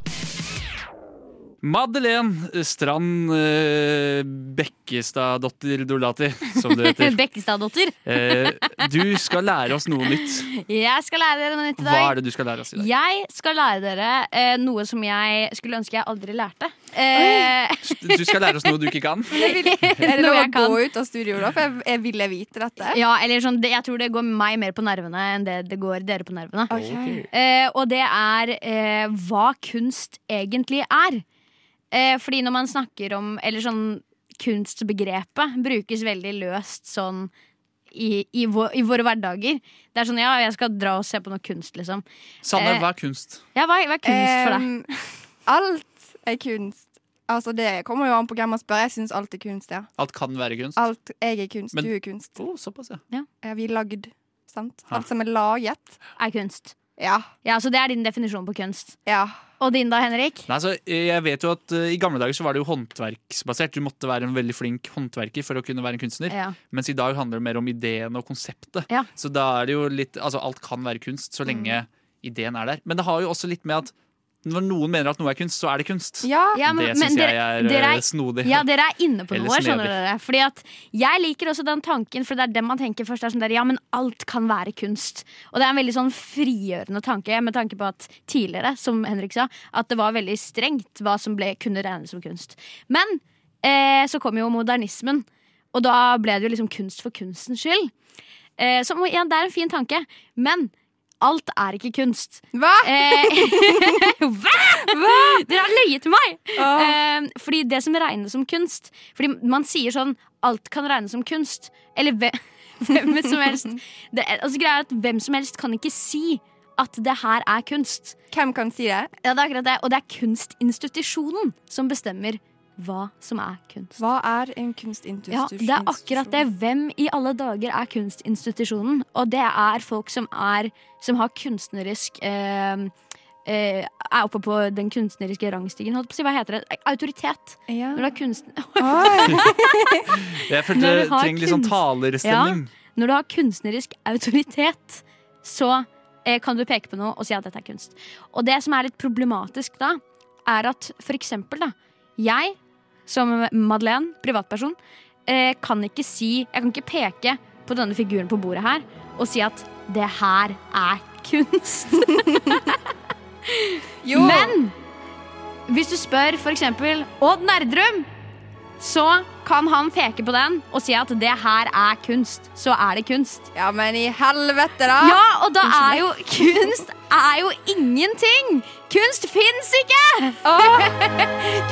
Madeleine Strand eh, Bekkestad-dotter Dolati, som det heter.
*laughs* Bekkestad-dotter,
Eh, du skal lære oss noe nytt.
jeg skal lære dere noe nytt i
Hva
dag.
er det du skal lære oss i dag?
Jeg skal lære dere eh, noe som jeg skulle ønske jeg aldri lærte. Eh,
Du skal lære oss noe du ikke
*laughs*
kan.
Er det
Noe
lov å
jeg kan.
gå ut av studio da? For jeg, jeg ville vite dette.
ja, eller sånn, det, jeg tror det går meg mer på nervene enn det det går dere på nervene.
Ok.
Eh, og det er eh, hva kunst egentlig er. Eh, fordi når man snakker om Eller sånn kunstbegrepet brukes veldig løst sånn i, i, vår, i våre hverdager. Det er sånn ja, jeg skal dra og se på noe kunst, liksom.
Sanne,
Eh,
hva er kunst?
Ja, hva, hva er kunst for deg?
Em, alt er kunst. Altså, det kommer jo an på hvem man spør. Jeg syns alt er kunst, ja.
Alt kan være kunst?
Alt jeg er kunst,
Men-
du er kunst.
Å, såpass, ja.
Ja, vi er lagd, sant?
Ja.
Alt som er laget.
Er kunst.
Ja.
Ja, så Det er din definisjon på kunst.
ja.
Og din da, Henrik?
Nei, så eh, jeg vet jo at eh, I gamle dager så var det jo håndverksbasert. Du måtte være en veldig flink håndverker for å kunne være en kunstner.
Ja.
Mens i dag handler det mer om ideen og konseptet.
Ja. Mm.
Så da er det jo litt Altså, alt kan være kunst så lenge ideen er der. Men det har jo også litt med at når noen mener at noe er kunst, så er det kunst.
Ja.
Ja, men-
det syns
men
jeg
dere-
er
dere
eh, snodig.
Ja, dere er inne på
Eller
noe, skjønner
snedig.
dere. Fordi at jeg liker også den tanken, for det er den man tenker først. Er sånn der, ja, men alt kan være kunst. Og det er en veldig sånn frigjørende tanke, med tanke på at tidligere, som Henrik sa, at det var veldig strengt hva som ble, kunne regnes som kunst. Men eh, så kom jo modernismen, og da ble det jo liksom kunst for kunstens skyld. Eh, som igjen, det er en fin tanke, men alt er ikke kunst.
Hva?
Eh, *laughs* Hva? Dere har løyet til meg!
Åh.
Eh, fordi det som regnes som kunst Fordi man sier sånn Alt kan regnes som kunst Eller hvem, *laughs* hvem som helst det, er- altså, greia er at Hvem som helst kan ikke si at det her er kunst
Hvem kan si det?
Ja, det er akkurat det Og det er kunstinstitusjonen som bestemmer hva som er kunst
Hva er en
ja,
kunstinstitusjon?
det er akkurat det. Hvem i alle dager er kunstinstitusjonen? Og det er folk som er Som har kunstnerisk eh, eh, Er oppe på den kunstneriske rangstigen, holdt på å si. Hva heter det? Autoritet.
Ja.
Når du har kunst...
Oi.
*laughs*
Jeg følte
Når
jeg
du har
trenger litt sånn
kunst.
talerstemning.
Når du har kunstnerisk autoritet, så eh, kan du peke på noe og si at dette er kunst. Og det som er litt problematisk da, er at for eksempel da, jeg som Madeleine, privatperson, eh, kan ikke si, jeg kan ikke peke på denne figuren på bordet her og si at det her er kunst. *laughs*
Jo.
Men hvis du spør for eksempel Odd Nerdrum, så kan han peke på den og si at det her er kunst. Så er det kunst.
Ja, men i helvete, da!
Ja, og da er jo kunst er jo ingenting. Kunst fins ikke! *laughs*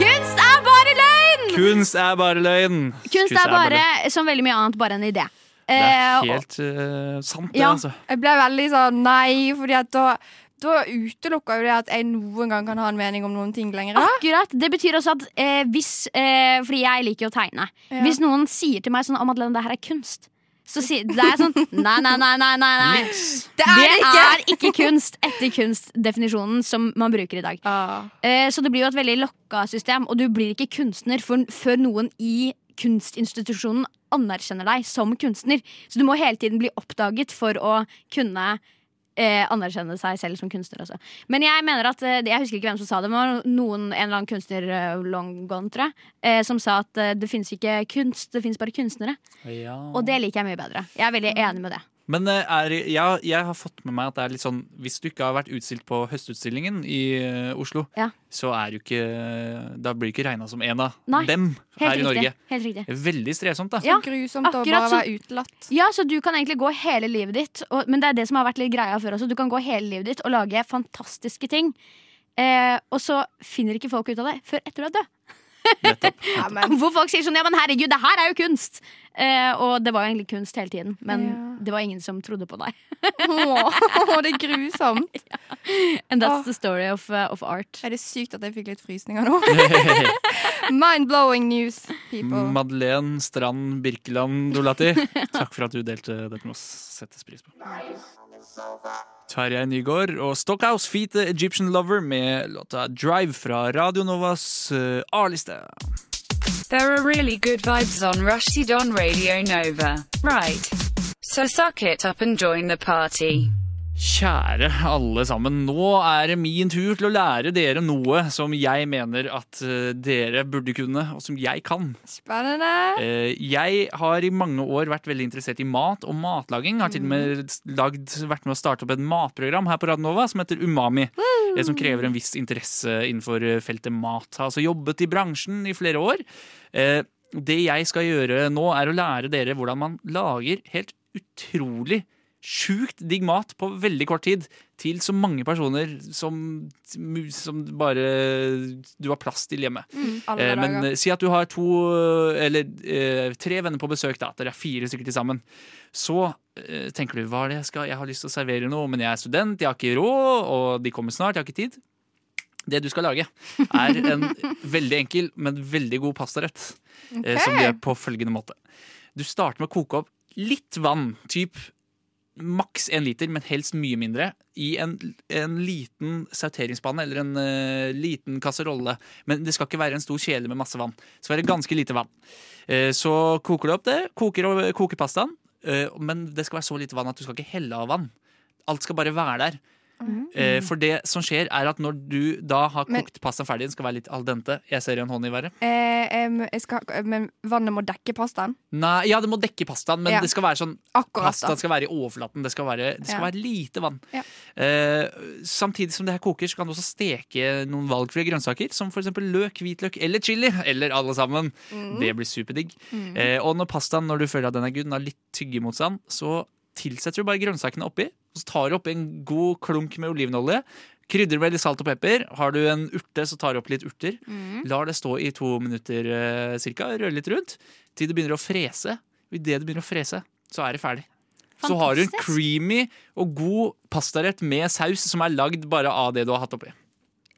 kunst er bare løgn!
Kunst er bare løgn.
Kunst er bare, som veldig mye annet, bare en idé.
Det
Eh,
er
og-
helt eh, sant, det,
ja.
altså.
Jeg ble veldig sånn nei, fordi at da, da utelukka jo det at jeg noen gang kan ha en mening om noen ting lenger. da.
Akkurat, Det betyr også at eh, hvis eh, Fordi jeg liker jo å tegne.
Ja.
Hvis noen sier til meg sånn 'Å, Madeleine, det her er kunst', så sier det er sånn Nei, nei, nei, nei. nei, nei.
Det er det ikke!
er ikke kunst etter kunstdefinisjonen som man bruker i dag.
Ah.
Eh, Så det blir jo et veldig lokka system, og du blir ikke kunstner for, før noen i kunstinstitusjonen anerkjenner deg som kunstner. Så du må hele tiden bli oppdaget for å kunne eh, anerkjenne seg selv som kunstner. Også. Men jeg mener at eh, Jeg husker ikke hvem som sa det, men det var noen, en eller annen kunstner eh, long gone, tror jeg, eh, som sa at eh, det finnes ikke kunst, det finnes bare kunstnere. Og det liker jeg mye bedre. Jeg er veldig enig med det.
Men eh, er, jeg, jeg har fått med meg at det er litt sånn Hvis du ikke har vært utstilt på Høstutstillingen i eh, Oslo,
Ja.
så er du ikke Da blir du ikke regna som en av
Nei,
dem her
Helt
i
riktig.
Norge.
Helt riktig.
Veldig strevsomt, da.
Ja,
Grusomt å bare
akkurat som-
være utelatt.
Ja, så du kan egentlig gå hele livet ditt, og, men det er det som har vært litt greia før også. Du kan gå hele livet ditt og lage fantastiske ting. Eh, og så finner ikke folk ut av det før etter du er død.
Nettopp.
Ja, men
*laughs* Hvor folk sier sånn ja, men herregud, det her er jo kunst! Eh, og det var jo egentlig kunst hele tiden, men det var ingen som trodde på deg. *laughs*
Åh, det er grusomt.
And that's
Åh.
the story of, uh, of art.
Er det sykt at jeg fikk litt frysninger nå?
*laughs*
Mind-blowing news, people.
Madeleine Strand Birkeland Dolati, takk for at du delte dette med oss. Settes pris på. Tarjei Nygaard og Stockhouse Feet The Egyptian Lover med låta Drive fra Radio Novas eh, A-liste.
There are really good vibes on Rushdie on Radio Nova. Right. So suck it up and join the party.
Kjære alle sammen, nå er det min tur til å lære dere noe som jeg mener at eh, dere burde kunne, og som jeg kan.
Spennende.
Eh, Jeg har i mange år vært veldig interessert i mat og matlaging. Har til og med lagd, vært med å starte opp et matprogram her på Radnova som heter Umami. eh, Som krever en viss interesse innenfor eh, feltet mat. Har altså jobbet i bransjen i flere år. Eh, Det jeg skal gjøre nå, er å lære dere hvordan man lager helt utrolig Sjukt digg mat på veldig kort tid til så mange personer som, som bare du har plass til hjemme.
Mm, Alle
Eh, men
dager.
eh, si at du har to eh, Eller eh, tre venner på besøk, da. At dere er fire stykker til sammen. Så eh, tenker du hva er det jeg skal Jeg har lyst til å servere noe, men jeg er student, jeg har ikke råd, og de kommer snart, jeg har ikke tid. Det du skal lage, er en
*laughs*
veldig enkel, men veldig god pastarett. eh, Som
Ok.
gjør på følgende måte. Du starter med å koke opp litt vann. Typ maks én liter, men helst mye mindre, i en, en liten sauteringspanne eller en eh, liten kasserolle. Men det skal ikke være en stor kjele med masse vann. Det skal være ganske lite vann. Eh, så koker du opp det, koker, over- koker pastaen, eh, men det skal være så lite vann at du skal ikke helle av vann. Alt skal bare være der. Eh, for det som skjer, er at når du da har
Mm. Men-
kokt pastaen ferdig, den skal være litt al dente. Jeg ser en hånd i været.
Eh, em, jeg skal, men vannet må dekke pastaen?
Nei, ja, det må dekke pastaen, men
Ja.
det skal være sånn
Akkurat. da.
Pastaen skal være i overflaten. Det skal være, det skal
Ja.
være lite vann.
Ja.
Eh, samtidig som det her koker, så kan du også steke noen valgfrie grønnsaker. Som f.eks. løk, hvitløk eller chili. Eller alle sammen.
Mm.
Det blir superdigg. Eh, og når pastaen når du føler at den er good, den har litt tyggemotstand, så tilsetter du bare grønnsakene oppi. Og så tar du oppi en god klunk med olivenolje. Krydrer med litt salt og pepper. Har du en urte, så tar du opp litt urter.
Mm.
Lar det stå i to minutter eh, cirka, røre litt rundt, til det begynner å frese. Og Idet det begynner å frese, så er det ferdig. Så har du en
Fantastisk.
creamy og god pastarett med saus som er lagd bare av det du har hatt oppi.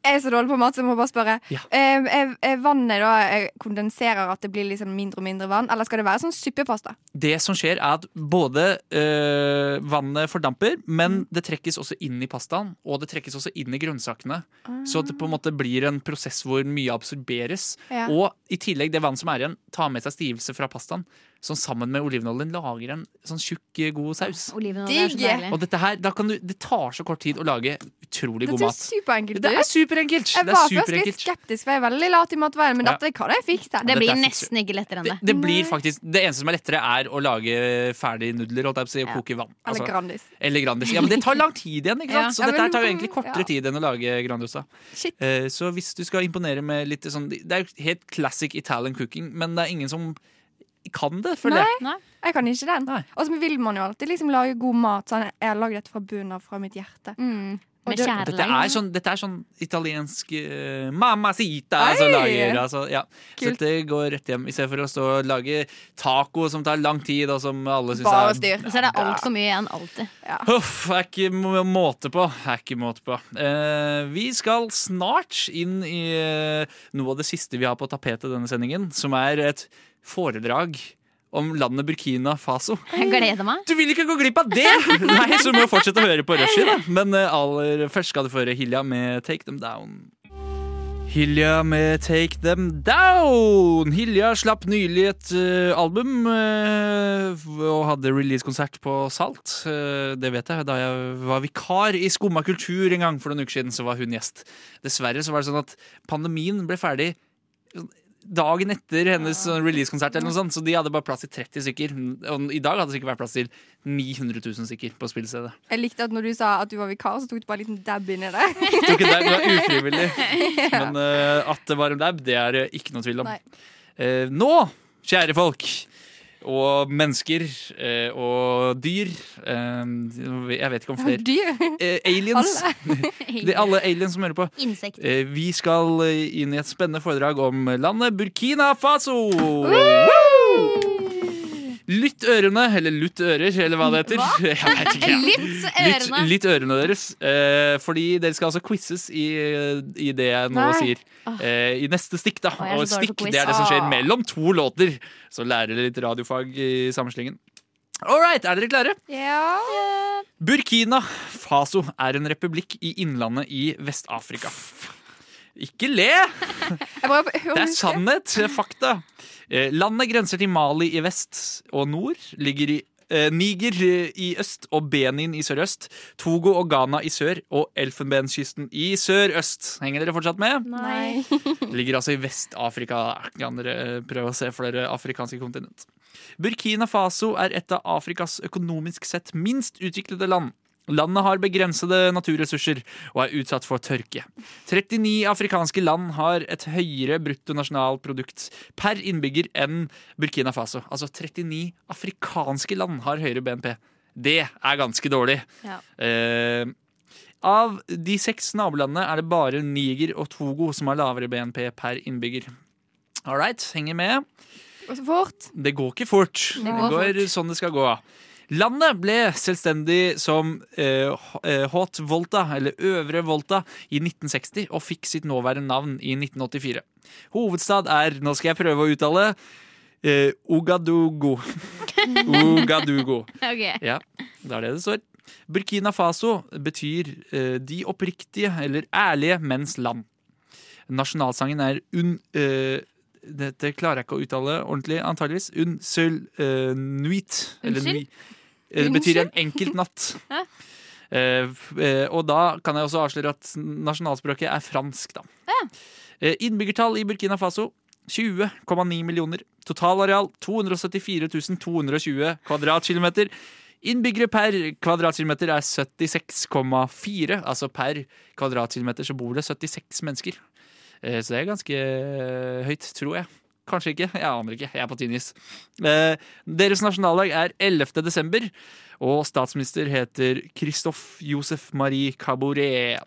Jeg er så dårlig på mat, så jeg må bare spørre.
Ja.
Em, em, em, vannet da eh, kondenserer at det blir liksom mindre og mindre vann? Eller skal det være sånn suppepasta?
Det som skjer, er at både øh, vannet fordamper,
Mm.
men det trekkes også inn i pastaen. Og det trekkes også inn i grønnsakene. Så at det på en måte blir en prosess hvor mye absorberes.
Ah. Ja.
Og i tillegg, det vannet som er igjen, tar med seg stivelse fra pastaen. Som sammen med olivenoljen lager en sånn tjukk, god saus.
Olivenolje er så
Digg.
deilig.
Og dette her, da kan du, det tar så kort tid å lage utrolig
Dette
god
er
mat.
superenkelt.
Det
du.
er superenkelt!
Jeg
Det er
var først litt
superenkelt.
skeptisk, for jeg er veldig lat i matveien, men
Ja.
dette kan jeg fikse.
Det
Dette
blir
er fikse.
nesten ikke lettere enn
Det,
det.
det blir faktisk Det eneste som er lettere, er å lage ferdig nudler holdt jeg på å si, og
Ja.
koke i vann.
Eller
Altså,
Grandis.
eller Grandis. Ja, men det tar lang tid igjen, ikke
Ja.
sant? så
*laughs* Ja,
dette her
men-
tar jo egentlig kortere
ja.
tid enn å lage Grandiosa.
Shit.
Eh, Så hvis du skal imponere med litt sånn Det er jo helt classic Italian cooking, men det er ingen som kan det, føler jeg.
Nei.
Jeg kan ikke den.
Nei.
Og så vil man jo alltid liksom lage god mat. Sånn, jeg har lagd dette fra bunnen av, fra mitt hjerte.
Mm.
Og
Med
det-
kjærleik.
Dette er sånn, dette er sånn italiensk eh, Mamma sita
Oi!
altså, lager, altså, ja. Så
Kult.
dette går rett hjem, i stedet for å stå og lage taco som tar lang tid, og som alle syns
Bare
er
styr.
Og så er det altfor mye igjen
*laughs*
alltid.
Huff, er ikke må- måte på. Er ikke måte på. Eh, vi skal snart inn i eh, noe av det siste vi har på tapetet i denne sendingen, som er et foredrag om landet Burkina Faso.
Jeg gleder meg.
Du vil ikke gå glipp av det! *laughs* Nei, så du må fortsette å høre på Rushdie, da. Men eh, aller først skal du få høre Hilja med Take Them Down. Hilja med Take Them Down! Hilja slapp nylig et eh, album eh, og hadde releasekonsert på Salt. Eh, det vet jeg, da jeg var vikar i Skumma kultur en gang for noen uker siden, så var hun gjest. Dessverre så var det sånn at pandemien ble ferdig dagen etter hennes sånn releasekonsert, eller noe sånt, så de hadde bare plass til 30 stykker. Og i dag hadde det sikkert vært plass til 900 000 stykker på spillestedet.
Jeg likte at når du sa at du var vikar, så tok du bare en liten dab inni
*laughs*
det.
Tok en dab, det var ufrivillig. Men eh, at det var en dab, det er det ikke noe tvil om.
Nei.
Eh, nå, kjære folk og mennesker eh, og dyr eh, Jeg vet ikke om flere.
Du.
Eh, aliens. Det er alle aliens som hører på.
Insekter.
Eh, Vi skal eh, inn i et spennende foredrag om landet Burkina Faso. Lytt ørene, eller lutt ører, eller hva det heter. *laughs* Jeg vet ikke, jeg.
Lytt
Lytt,
ørene.
lytt ørene deres. eh, fordi dere skal altså quizes i, i det jeg nå
Nei.
sier. eh, I neste stikk, da.
jeg
Og
er så dårlig
stikk,
på quiz.
det er det som skjer
Ah.
mellom to låter. Så lærer dere litt radiofag i sammenslingen. All right, er dere klare?
Ja.
Burkina Faso er en republikk i Innlandet i Vest-Afrika. Ikke le!
Jeg bare
*laughs*
hører
Det er sånn. sannhet, fakta. Eh, Landet grenser til Mali i vest og nord. Ligger i eh, Niger eh, i øst og Benin i sørøst. Togo og Ghana i sør og Elfenbenskysten i sørøst. Henger dere fortsatt med?
Nei.
*laughs* Ligger altså i Vest-Afrika. Kan dere eh, prøve å se flere afrikanske kontinent. Burkina Faso er et av Afrikas økonomisk sett minst utviklede land. Landet har begrensede naturressurser og er utsatt for tørke. 39 afrikanske land har et høyere bruttonasjonalprodukt per innbygger enn Burkina Faso. Altså 39 afrikanske land har høyere BNP. Det er ganske dårlig.
Ja.
Eh, av de seks nabolandene er det bare Niger og Togo som har lavere BNP per innbygger. All right, henger med.
Og så fort.
Det går ikke fort. Det
går
går, sånn det skal gå. Landet ble selvstendig som eh, H- eh, Haute Volta, eller Øvre Volta, i 1960 og fikk sitt nåværende navn i 1984. Hovedstad er, nå skal jeg prøve å uttale, Eh, *laughs* Ouagadougou. Ouagadougou.
*laughs* Ok.
Ja, det er det det står. Burkina Faso betyr eh, de oppriktige eller ærlige menns land. Nasjonalsangen er un... eh, dette klarer jeg ikke å uttale ordentlig, antageligvis. Un seul eh, nuit. eller
Unnskyld?
nui. Eh, Det betyr en enkelt natt. Eh, f- eh, og da kan jeg også avsløre at nasjonalspråket er fransk, da. Eh, innbyggertall i Burkina Faso 20,9 millioner. Totalareal 274 220 kvadratkilometer. Innbyggere per kvadratkilometer er 76,4. Altså per kvadratkilometer så bor det 76 mennesker. Eh, Så det er ganske eh, høyt, tror jeg. Kanskje ikke. Jeg aner ikke. Jeg er på tynn is. Eh, Deres nasjonaldag er 11. desember, og statsminister heter Christophe Josef Marie Caboret.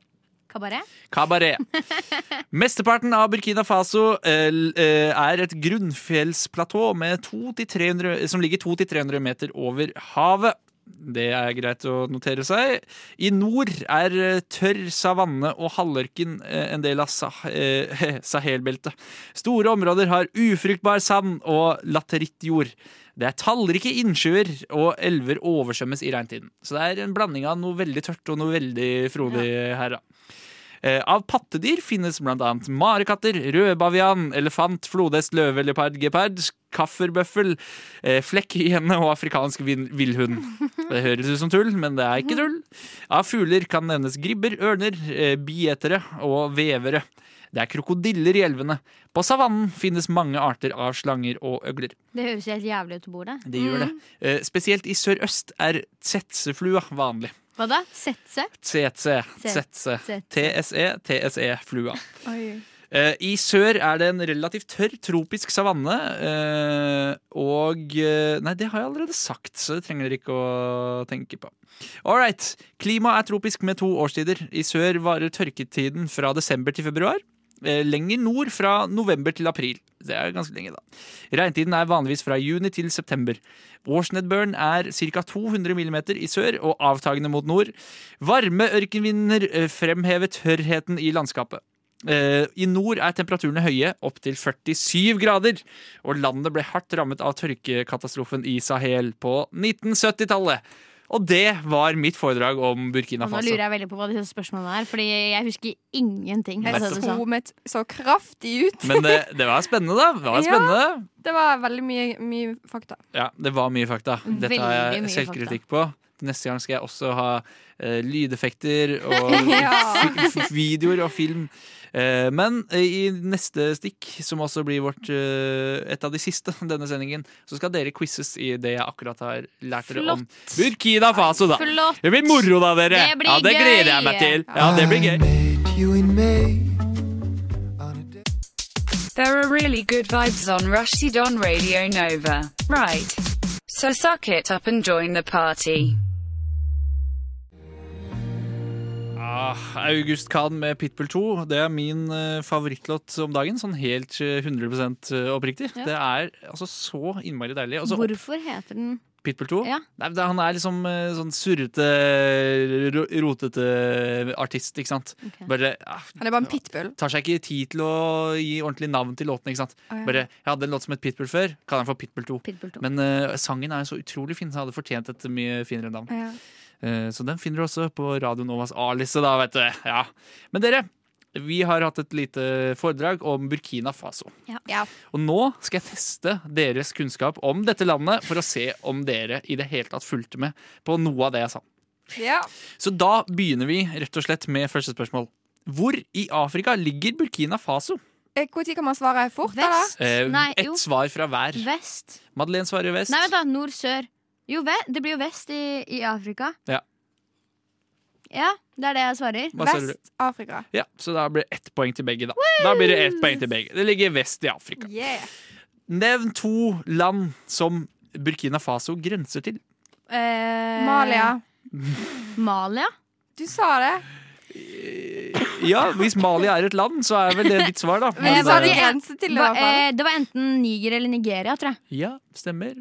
Kabaret?
Kabaret. Mesteparten av Burkina Faso eh, l- eh, er et grunnfjellsplatå med 200-300 som ligger 200-300 meter over havet. Det er greit å notere seg. I nord er eh, tørr savanne og halvørken eh, en del av Sah eh, *laughs* Sahelbeltet. Store områder har ufruktbar sand og laterittjord. Det er tallrike innsjøer, og elver oversvømmes i regntiden. Så det er en blanding av noe veldig tørt og noe veldig frodig her, da. Eh, Av pattedyr finnes bl.a. marekatter, rødbavian, elefant, flodhest, løve, leopard, gepard, kafferbøffel, eh, flekkhyene og afrikansk vin- villhund. Det høres ut som tull, men det er ikke tull. Av fugler kan nevnes gribber, ørner, eh, bietere og vevere. Det er krokodiller i elvene. På savannen finnes mange arter av slanger og øgler.
Det høres helt jævlig ut å bo der.
Det gjør det. Eh, Spesielt i sørøst er tsetseflua vanlig.
Hva da? Setse?
Tsetse, tsetse. E.
tsetse.
TSE, TSE-flua.
Oi.
Eh, I sør er det en relativt tørr tropisk savanne, eh, og eh, Nei, det har jeg allerede sagt, så det trenger dere ikke å tenke på. All right. Klimaet er tropisk med to årstider. I sør varer tørketiden fra desember til februar. Eh, Lenger nord fra november til april. Det er ganske lenge, da. Regntiden er vanligvis fra juni til september. Årsnedbøren er ca. 200 mm i sør og avtagende mot nord. Varme ørkenvinder eh, fremhever tørrheten i landskapet. Eh, I nord er temperaturene høye, opptil 47 grader. Og landet ble hardt rammet av tørkekatastrofen i Sahel på 1970-tallet. Og det var mitt foredrag om Burkina
Og nå
Faso.
lurer jeg veldig på hva disse spørsmålene er, Fordi jeg husker ingenting.
Jeg
Altså,
sånn.
du sa.
zoomet så kraftig ut.
Men det, det var spennende, da.
*laughs*
Det var
Ja.
spennende.
Det var veldig mye, mye fakta.
Ja, det var mye fakta. Dette har
Veldig
jeg
mye
selvkritikk på. Neste gang skal jeg også ha eh, lydeffekter
*laughs*
og
Ja.
f- f- videoer og film. Eh, men eh, i neste stikk, som også blir vårt, eh, et av de siste denne sendingen, så skal dere quizzes i det jeg akkurat har lært dere om Burkina Faso, da.
Flott.
Det blir moro, da, dere.
Det blir
ja, det gleder jeg
gøy.
meg til. Ja, det blir gøy.
There are really good vibes on Rushdie on Radio Nova. Right. So suck it up and join the party.
Ah, August Khan med Pitbull 2. Det er min eh, favorittlåt om dagen. Sånn helt eh, 100 oppriktig. Det er altså så innmari deilig. Og så opp-
Altså, Hvorfor heter den
Pitbull 2.
Ja.
Nei, det, han er liksom eh, sånn surrete, ro- rotete artist, ikke sant.
Ok.
Bare ah,
Han er bare en pitbull.
tar seg ikke tid til å gi ordentlig navn til låtene, ikke sant.
Å, ja.
Bare jeg hadde en låt som het Pitbull før, kan jeg få Pitbull 2.
Pitbull 2?
Men eh, sangen er så utrolig fin, så jeg hadde fortjent et mye finere navn.
Ja.
Eh, Så den finner du også på Radio Novas A-liste, da, vet du. Ja. Men dere, vi har hatt et lite foredrag om Burkina Faso.
Ja.
Og nå skal jeg teste deres kunnskap om dette landet for å se om dere i det hele tatt fulgte med på noe av det jeg sa.
ja.
Så da begynner vi rett og slett med første spørsmål. Hvor i Afrika ligger Burkina Faso?
Eh, Hvor tid kan man svare fort, eller?
Vest?
Eh,
Nei,
Ett
jo.
svar fra hver.
Vest?
Madeleine svarer vest.
Nei, vent da. Nord-sør. Jo, ve det blir jo vest i, i Afrika.
Ja.
Ja, det er det jeg svarer.
Hva svarer du?
Vest-Afrika.
Ja, så da blir det ett poeng til begge, da. Da blir det ett poeng til begge. Det ligger vest i Afrika.
Yeah.
Nevn to land som Burkina Faso grenser til.
Eh,
Malia.
Malia?
Du sa det.
Ja, *laughs* hvis Mali er et land, så er vel det ditt svar, da.
*laughs* Men
jeg
du sa
bare-
det grense til, i
Hva,
hvert fall.
eh, det var enten Niger eller Nigeria, tror jeg.
Ja, stemmer.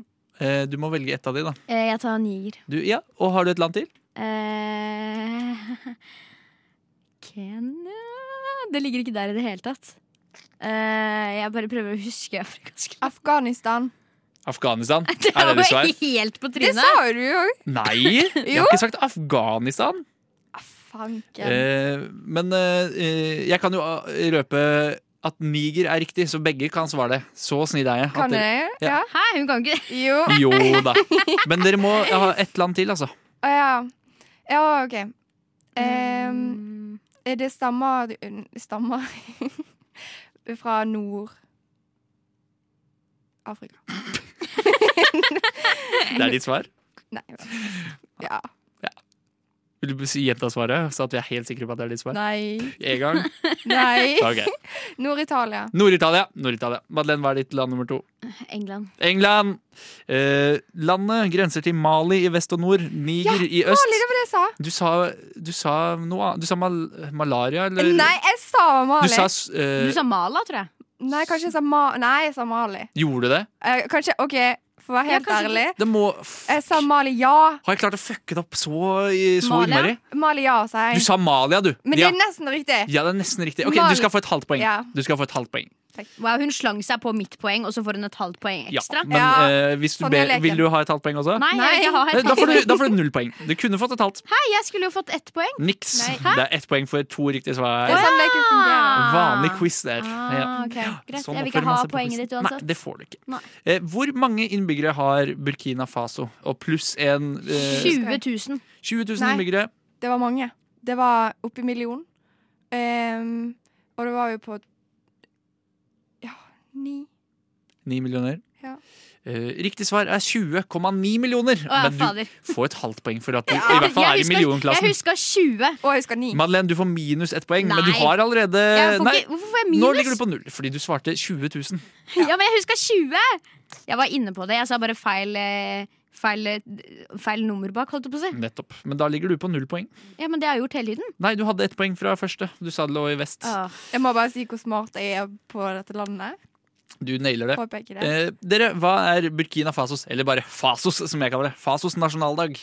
Eh, Du må velge ett av de, da.
Eh, jeg tar Niger.
Du, ja, Og har du et land til?
Eh, *laughs* Kenya Det ligger ikke der i det hele tatt. Eh, jeg bare prøver å huske afrikansk. *laughs*
Afghanistan. *laughs*
Afghanistan?
Det
Er det
var
det svar?
helt på
Det
trynet.
sa jo du òg. *laughs*
Nei! Jeg har ikke sagt Afghanistan.
Ah, Fanken.
Eh, men eh, eh, jeg kan jo ah, røpe at niger er riktig, så begge kan svare det. Så snill er jeg. at
Kan
dere-
jeg?
Ja.
Ja.
Hæ, hun kan ikke
Jo.
Jo da. Men dere må ha ett land til, altså.
Å ja. Ja, OK. Ehm,
Mm. Eh,
er det stammer Stammer *laughs* fra Nord-Afrika.
Det er ditt svar.
Nei. Ja.
Vil du si gjenta svaret, så at vi er helt sikre på at det er ditt svar?
Nei.
En gang?
Nei.
*laughs* Ok.
Nord-Italia.
Nord-Italia. Nord-Italia. Madeleine, hva er ditt land nummer to?
England.
England. Eh, landet grenser til Mali i vest og nord, Niger i øst.
Mali, Ah, det var det jeg sa.
Du sa, du sa noe annet. Du sa mal malaria, eller
Nei, jeg sa
Du
Mali.
sa s- eh,
Du sa Mala, tror jeg.
Nei, kanskje jeg sa Ma... Nei, jeg sa Mali.
Gjorde du det?
Eh, kanskje, OK, for å være
Ja,
helt
kanskje
ærlig.
Det må
Jeg sa Mali ja.
Har jeg klart å fucke det opp så, i- så
Malia?
innmari?
Mali ja, sa
Du
jeg.
sa Malia, du.
Men det
ja.
er nesten riktig.
ja, det er nesten riktig. Ok,
Mali-
Du skal få et halvt poeng.
Ja.
Du skal få et halvt poeng.
Wow, hun slang seg på mitt poeng, og så får hun et halvt poeng
Ja.
ekstra.
Men
Ja,
eh, hvis du
sånn
ber,
er leken.
vil du ha et halvt poeng også?
Nei,
Nei.
jeg, jeg, har
Eh,
et
Da får,
halvt.
du, da får du null poeng. Du kunne fått et halvt.
Hæ, jeg skulle jo fått ett poeng.
Niks.
Nei.
Det er ett poeng for to riktige svar.
Det er sånn det ikke fungerer.
Vanlig quiz der.
Ah, ok. Greit,
Sånn
jeg vil ikke
oppfører
ha
man seg på
poenget
quiz.
ditt uansett.
Nei, det får du ikke.
Nei.
Eh, hvor mange innbyggere har Burkina Faso? Og pluss en eh,
20 000.
20 000
Nei.
innbyggere.
Det var mange. Det var oppi million. Ehm, og det var jo på Ja, ni
9 millioner.
Ja.
Eh, riktig svar er 20,9 millioner.
Å, ja,
men
fader.
du får et halvt poeng for at du i hvert fall er i
Jeg husker- Jeg
millionklassen.
huska 20.
Å, jeg husker ni.
Madeleine, du får minus ett poeng, men du
Nei.
har allerede
Jeg får
Eh, Nei,
ikke, hvorfor får jeg
nå ligger
minus?
du
*laughs*
på null, fordi du svarte 20 000.
Ja, men jeg huska 20! Jeg var inne på det. Jeg sa bare feil, eh, feil, eh, feil nummer bak, holdt jeg på å si.
Nettopp. Men da ligger du på null poeng.
Ja, men det har jeg gjort hele tiden.
Nei, du hadde ett poeng fra første. Du sa det lå i
Ah.
vest.
Jeg må bare si hvor smart jeg er på dette landet.
Du nailer det.
Håper jeg ikke det.
Eh, dere, hva er Burkina Fasos, eller bare Fasos som jeg kaller det, Fasos nasjonaldag?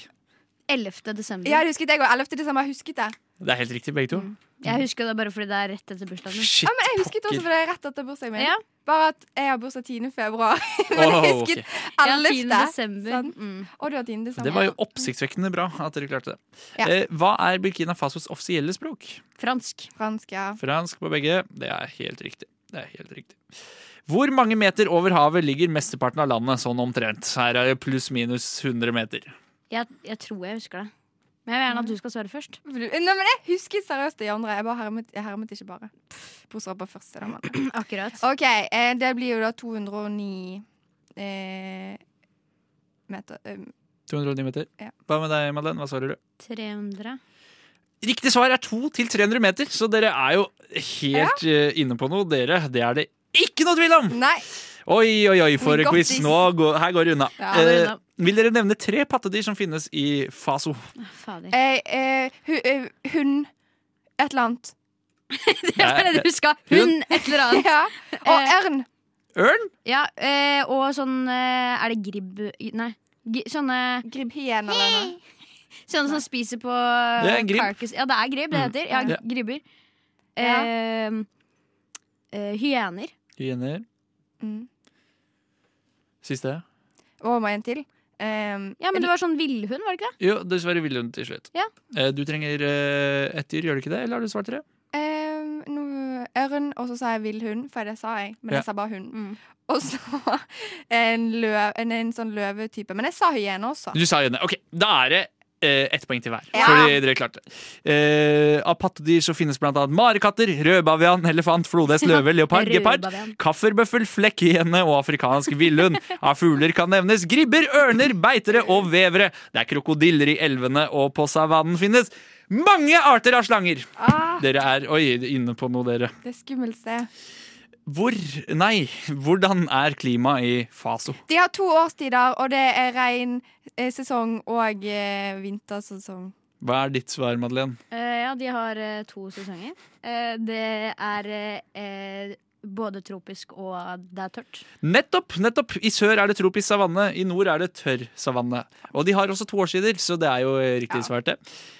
11. desember.
Ja, det husket jeg òg. 11. desember. Jeg husket det.
Det er helt riktig, begge to.
Mm,
Jeg husker det bare fordi det er rett etter bursdagen min.
Shit,
Ja, men jeg husket også, for det er rett etter bursdagen min.
Ja.
Bare at jeg har bursdag 10. februar. *laughs*
pokker.
Men jeg
Åh,
husket
ok.
11.
Ja, 10. desember.
sant?
Mm.
Og du har 10. desember.
Det var jo oppsiktsvekkende bra at dere klarte det.
Ja.
Eh, hva er Burkina Fasos offisielle språk?
Fransk.
Fransk, ja.
Fransk på begge. Det er helt riktig. Det er helt riktig. Hvor mange meter over havet ligger mesteparten av landet, sånn omtrent? Her er det pluss-minus 100 meter.
Jeg, jeg tror jeg husker det. Men jeg vil gjerne at du skal svare først.
For du- Nei, men jeg husket seriøst de andre. Jeg bare hermet, jeg hermet ikke bare. Bortsett fra første. Da, men.
*clears throat* Akkurat.
OK, eh, det blir jo da 209 eh, meter eh,
209 meter.
Ja.
Hva med deg, Madeleine? Hva svarer du?
300.
Riktig svar er 200-300 meter, så dere er jo helt eh, inne på noe, dere. Det er det ikke noe tvil om!
Nei!
Oi, oi, oi, for
We
en
got
quiz.
this.
Nå går, her går det unna.
Ja,
det er unna.
Eh, vil dere nevne tre pattedyr som finnes i Faso?
Fader.
Eh, eh, hu, eh, hund Et eller annet.
*laughs* Det var det du huska. Hund, et eller
*laughs*
annet.
Ja. Og
Eh.
ørn.
Ørn?
Ja, eh, og sånn eh, Er det gribb... Nei. Gi- Sånne,
Gribbhien eller noe.
sånne som spiser på
Det er en gribb.
carcass. Ja, det er gribb det heter. Ja,
Ja.
gribber.
Ja.
Eh, eh, hyener.
Hyener.
Mm.
Siste.
Og må en til. Um,
Ja, men det var sånn villhund, var det ikke det?
Jo, dessverre ville hun til slutt.
Ja.
Eh, du trenger eh, ett dyr, gjør du ikke det? Eller har du svart tre?
Ehm, nå- ørn, og så sa jeg villhund, for det sa jeg. Men
Ja.
jeg sa bare hund.
Mm.
Og så *laughs* en, løv, en, en sånn løvetype. Men jeg sa hyene også.
Du sa hyener. Ok, da er det eh, ett poeng til hver.
Ja.
Fordi dere klarte det. Eh, av pattedyr så finnes blant annet marekatter, rødbavian, elefant, flodhest, *laughs* løve, leopard, gepard.
Rødbavian.
Kafferbøffel, flekkhyene og afrikansk villhund. Av fugler kan nevnes gribber, ørner, beitere og vevere. Det er krokodiller i elvene, og på savannen finnes mange arter av slanger.
Ah,
Dere er oi, inne på noe, dere.
det er skummelt sted.
Hvor Nei, hvordan er klimaet i Faso?
De har to årstider, og det er regn, eh, sesong og eh, vintersesong.
Hva er ditt svar, Madeleine?
Eh, ja, de har eh, to sesonger. Eh, det er eh, eh, både tropisk og det er tørt.
Nettopp! nettopp I sør er det tropisk savanne, i nord er det tørr savanne. Og de har også to årsider, så det er jo eh, riktig svart, det.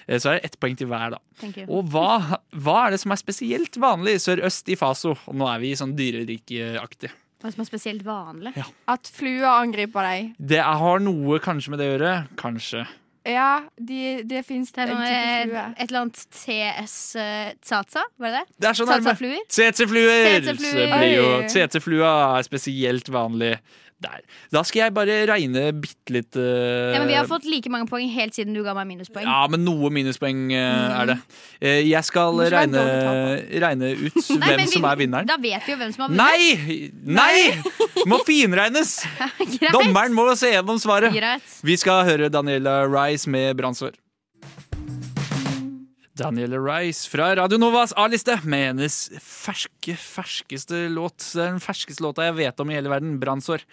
Eh, Så er det ett poeng til hver, da.
Thank you.
Og hva, hva er det som er spesielt vanlig sørøst i Faso? Og nå er vi sånn dyrerikeaktig.
Hva som er spesielt vanlig.
At fluer angriper deg.
Det er- har noe kanskje med det å gjøre. Kanskje.
Ja, de, det fins
Det
en
er sånn,
type
eh,
flue.
et eller annet TS eh, Tsatsa, var det det?
Det Sånn er så nærme.
Tsatsafluer?
CC-fluer!
CC-fluer.
Så blir jo
Oi.
CC-flua er spesielt vanlig der. Da skal jeg bare regne bitte litt eh,
Ja, men vi har fått like mange poeng helt siden du ga meg minuspoeng.
Ja, men noe minuspoeng eh, er
Mm.
det. Eh, Jeg skal
Det må ikke være
regne,
dårlig
regne ut
Nei,
hvem
men vi-
som er vinneren.
Da vet vi jo hvem som har vunnet.
Nei! Nei! Må finregnes!
*laughs* Greit.
Dommeren må se gjennom svaret.
Greit.
Vi skal høre Daniela Rice med brannsår. Daniela Rice fra Radio Novas A-liste med hennes ferske, ferskeste låt. Det er Den ferskeste låta jeg vet om i hele verden, 'Brannsår'.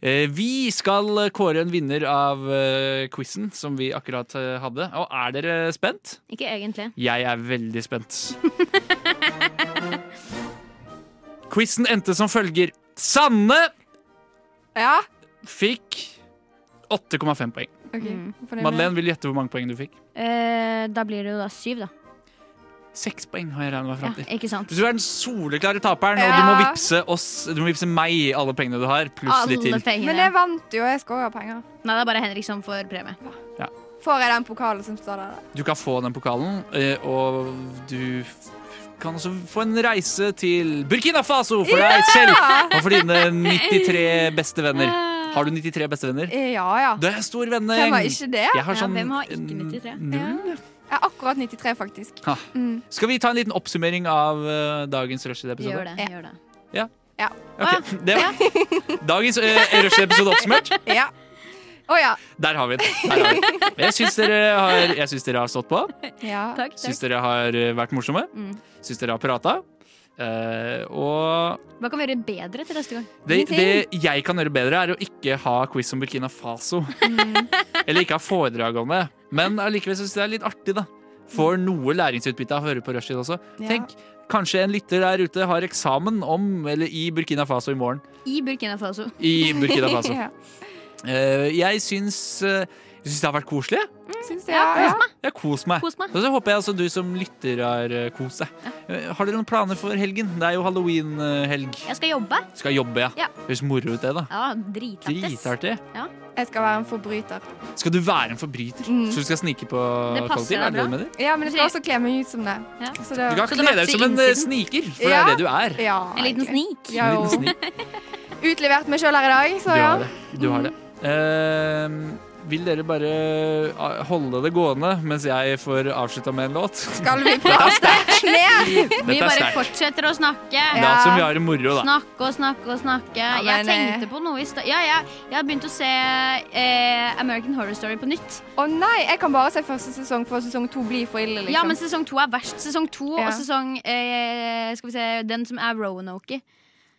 Eh, Vi skal kåre en vinner av eh, quizen som vi akkurat eh, hadde. Og er dere spent?
Ikke egentlig.
Jeg er veldig spent. *laughs* Quizen endte som følger. Sanne
Ja.
fikk 8,5 poeng.
ok.
Mm.
Fornøyd med
Madeleine, vil du gjette hvor mange poeng du fikk?
Eh, da blir det jo da syv, da.
Seks poeng har jeg regnet meg
Ja,
fram til.
ikke sant?
Du er den soleklare taperen, og du må
Ja.
vippse oss Du må vippse meg alle pengene du har, pluss
Alle
litt til.
det.
pengene.
Men jeg vant jo, jeg skal jo ha penger.
Nei, det er bare Henrik som får premie.
Får jeg den pokalen som står der? da?
Du kan få den pokalen, eh, og du f- kan også få en reise til Burkina Faso for deg selv og for dine 93 beste venner. Har du 93 beste venner?
Eh, Ja ja.
Det er stor
Hvem
vennegjeng.
var ikke det?
Jeg har
Ja,
sånn
hvem har ikke 93?
Null.
Jeg er akkurat 93, faktisk.
Ha.
Mm.
Skal vi ta en liten oppsummering av eh, dagens Rushdie-episode?
Gjør det.
Ja.
gjør det
Ok, det var *laughs* dagens uh, Rushdie-episode oppsummert.
Ja. Å ja.
Der har vi den. Der har vi den. Jeg syns dere, har- jeg syns dere har stått på.
ja.
Takk.
Syns dere har eh, vært morsomme.
Mm.
Syns dere har prata. Eh, og
Hva kan vi gjøre bedre til neste gang?
det, det
Ingenting.
jeg kan gjøre bedre, er å ikke ha quiz om Burkina Faso. *laughs* Eller ikke ha foredrag om det. Men allikevel syns jeg det er litt artig, da. Får noe læringsutbytte av å høre på Rushtid også.
Ja.
Tenk, kanskje en lytter der ute har eksamen om, eller i Burkina Faso i morgen.
I Burkina Faso.
I Burkina Faso.
*laughs* Ja.
Eh, jeg syns eh, jeg syns det har vært koselig. jeg.
Syns jeg. Ja.
Jeg har kost meg.
Kos meg.
Og så håper jeg også du som lytter har eh, kost deg. Eh, Har dere noen planer for helgen? Det er jo halloween-helg.
Jeg skal jobbe.
Skal jobbe, ja.
Ja.
Høres moro ut, det, da.
Ja, dritlættis.
Dritartig.
Jeg skal være en forbryter.
Skal du være en forbryter?
Mm.
Så du skal snike på
Det passer
kollektiv? Er
deg
det
bra.
du mener?
Ja, men jeg skal også kle meg ut som det.
Ja.
Så det
Du kan kle
Så det
deg ut
matcher
som en eh,
innsiden.
sniker, for
Ja.
det er det du er.
ja,
En liten
egentlig.
snik.
Ja,
En
jo.
liten snik.
Utlevert meg sjøl her i dag,
Du
så ja.
har det. Du har det. Eh, vil dere bare eh, holde det gående mens jeg får avslutta med en låt?
Skal vi prate ned?
*laughs* Vi
Dette er
bare
sterkt.
fortsetter å snakke.
Det er
Ja.
alt som vi har i moro, da.
Snakke og snakke og snakke. jeg
men,
tenkte
eh,
på noe i stad. Ja, ja, jeg har begynt å se eh, American Horror Story på nytt.
Å nei, jeg kan bare se første sesong, for sesong to blir for ille, liksom.
Ja, men sesong to er verst. Sesong to
Ja.
og sesong eh, Skal vi se, den som er Roanoke.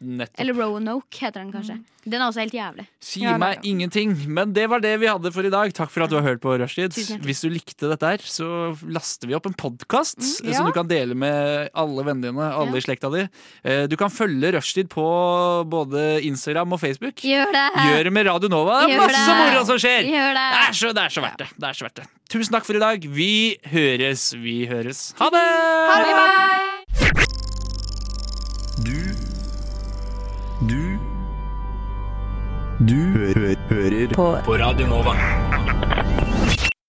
Nettopp.
Eller Roanoke heter den kanskje. Den er også helt jævlig.
Si
Ja, nei,
meg
ja.
ingenting. Men det var det vi hadde for i dag. Takk for at du har hørt på Rushtid.
Tusen hjertelig.
Hvis du likte dette her, så laster vi opp en podkast
ja.
som du kan dele med alle vennene dine, alle i
Ja.
slekta di. Eh, Du kan følge Rushtid på både Instagram og Facebook.
Gjør det!
Gjør det med Radio Nova. Det er
Gjør
masse
det.
moro som skjer!
Gjør det!
Det er så, det er så verdt det. det, er så verdt det. Tusen takk for i dag. Vi høres. Vi høres. Ha det!
Bye, bye.
Du Du Du hø hø hører på. på Radio Nova.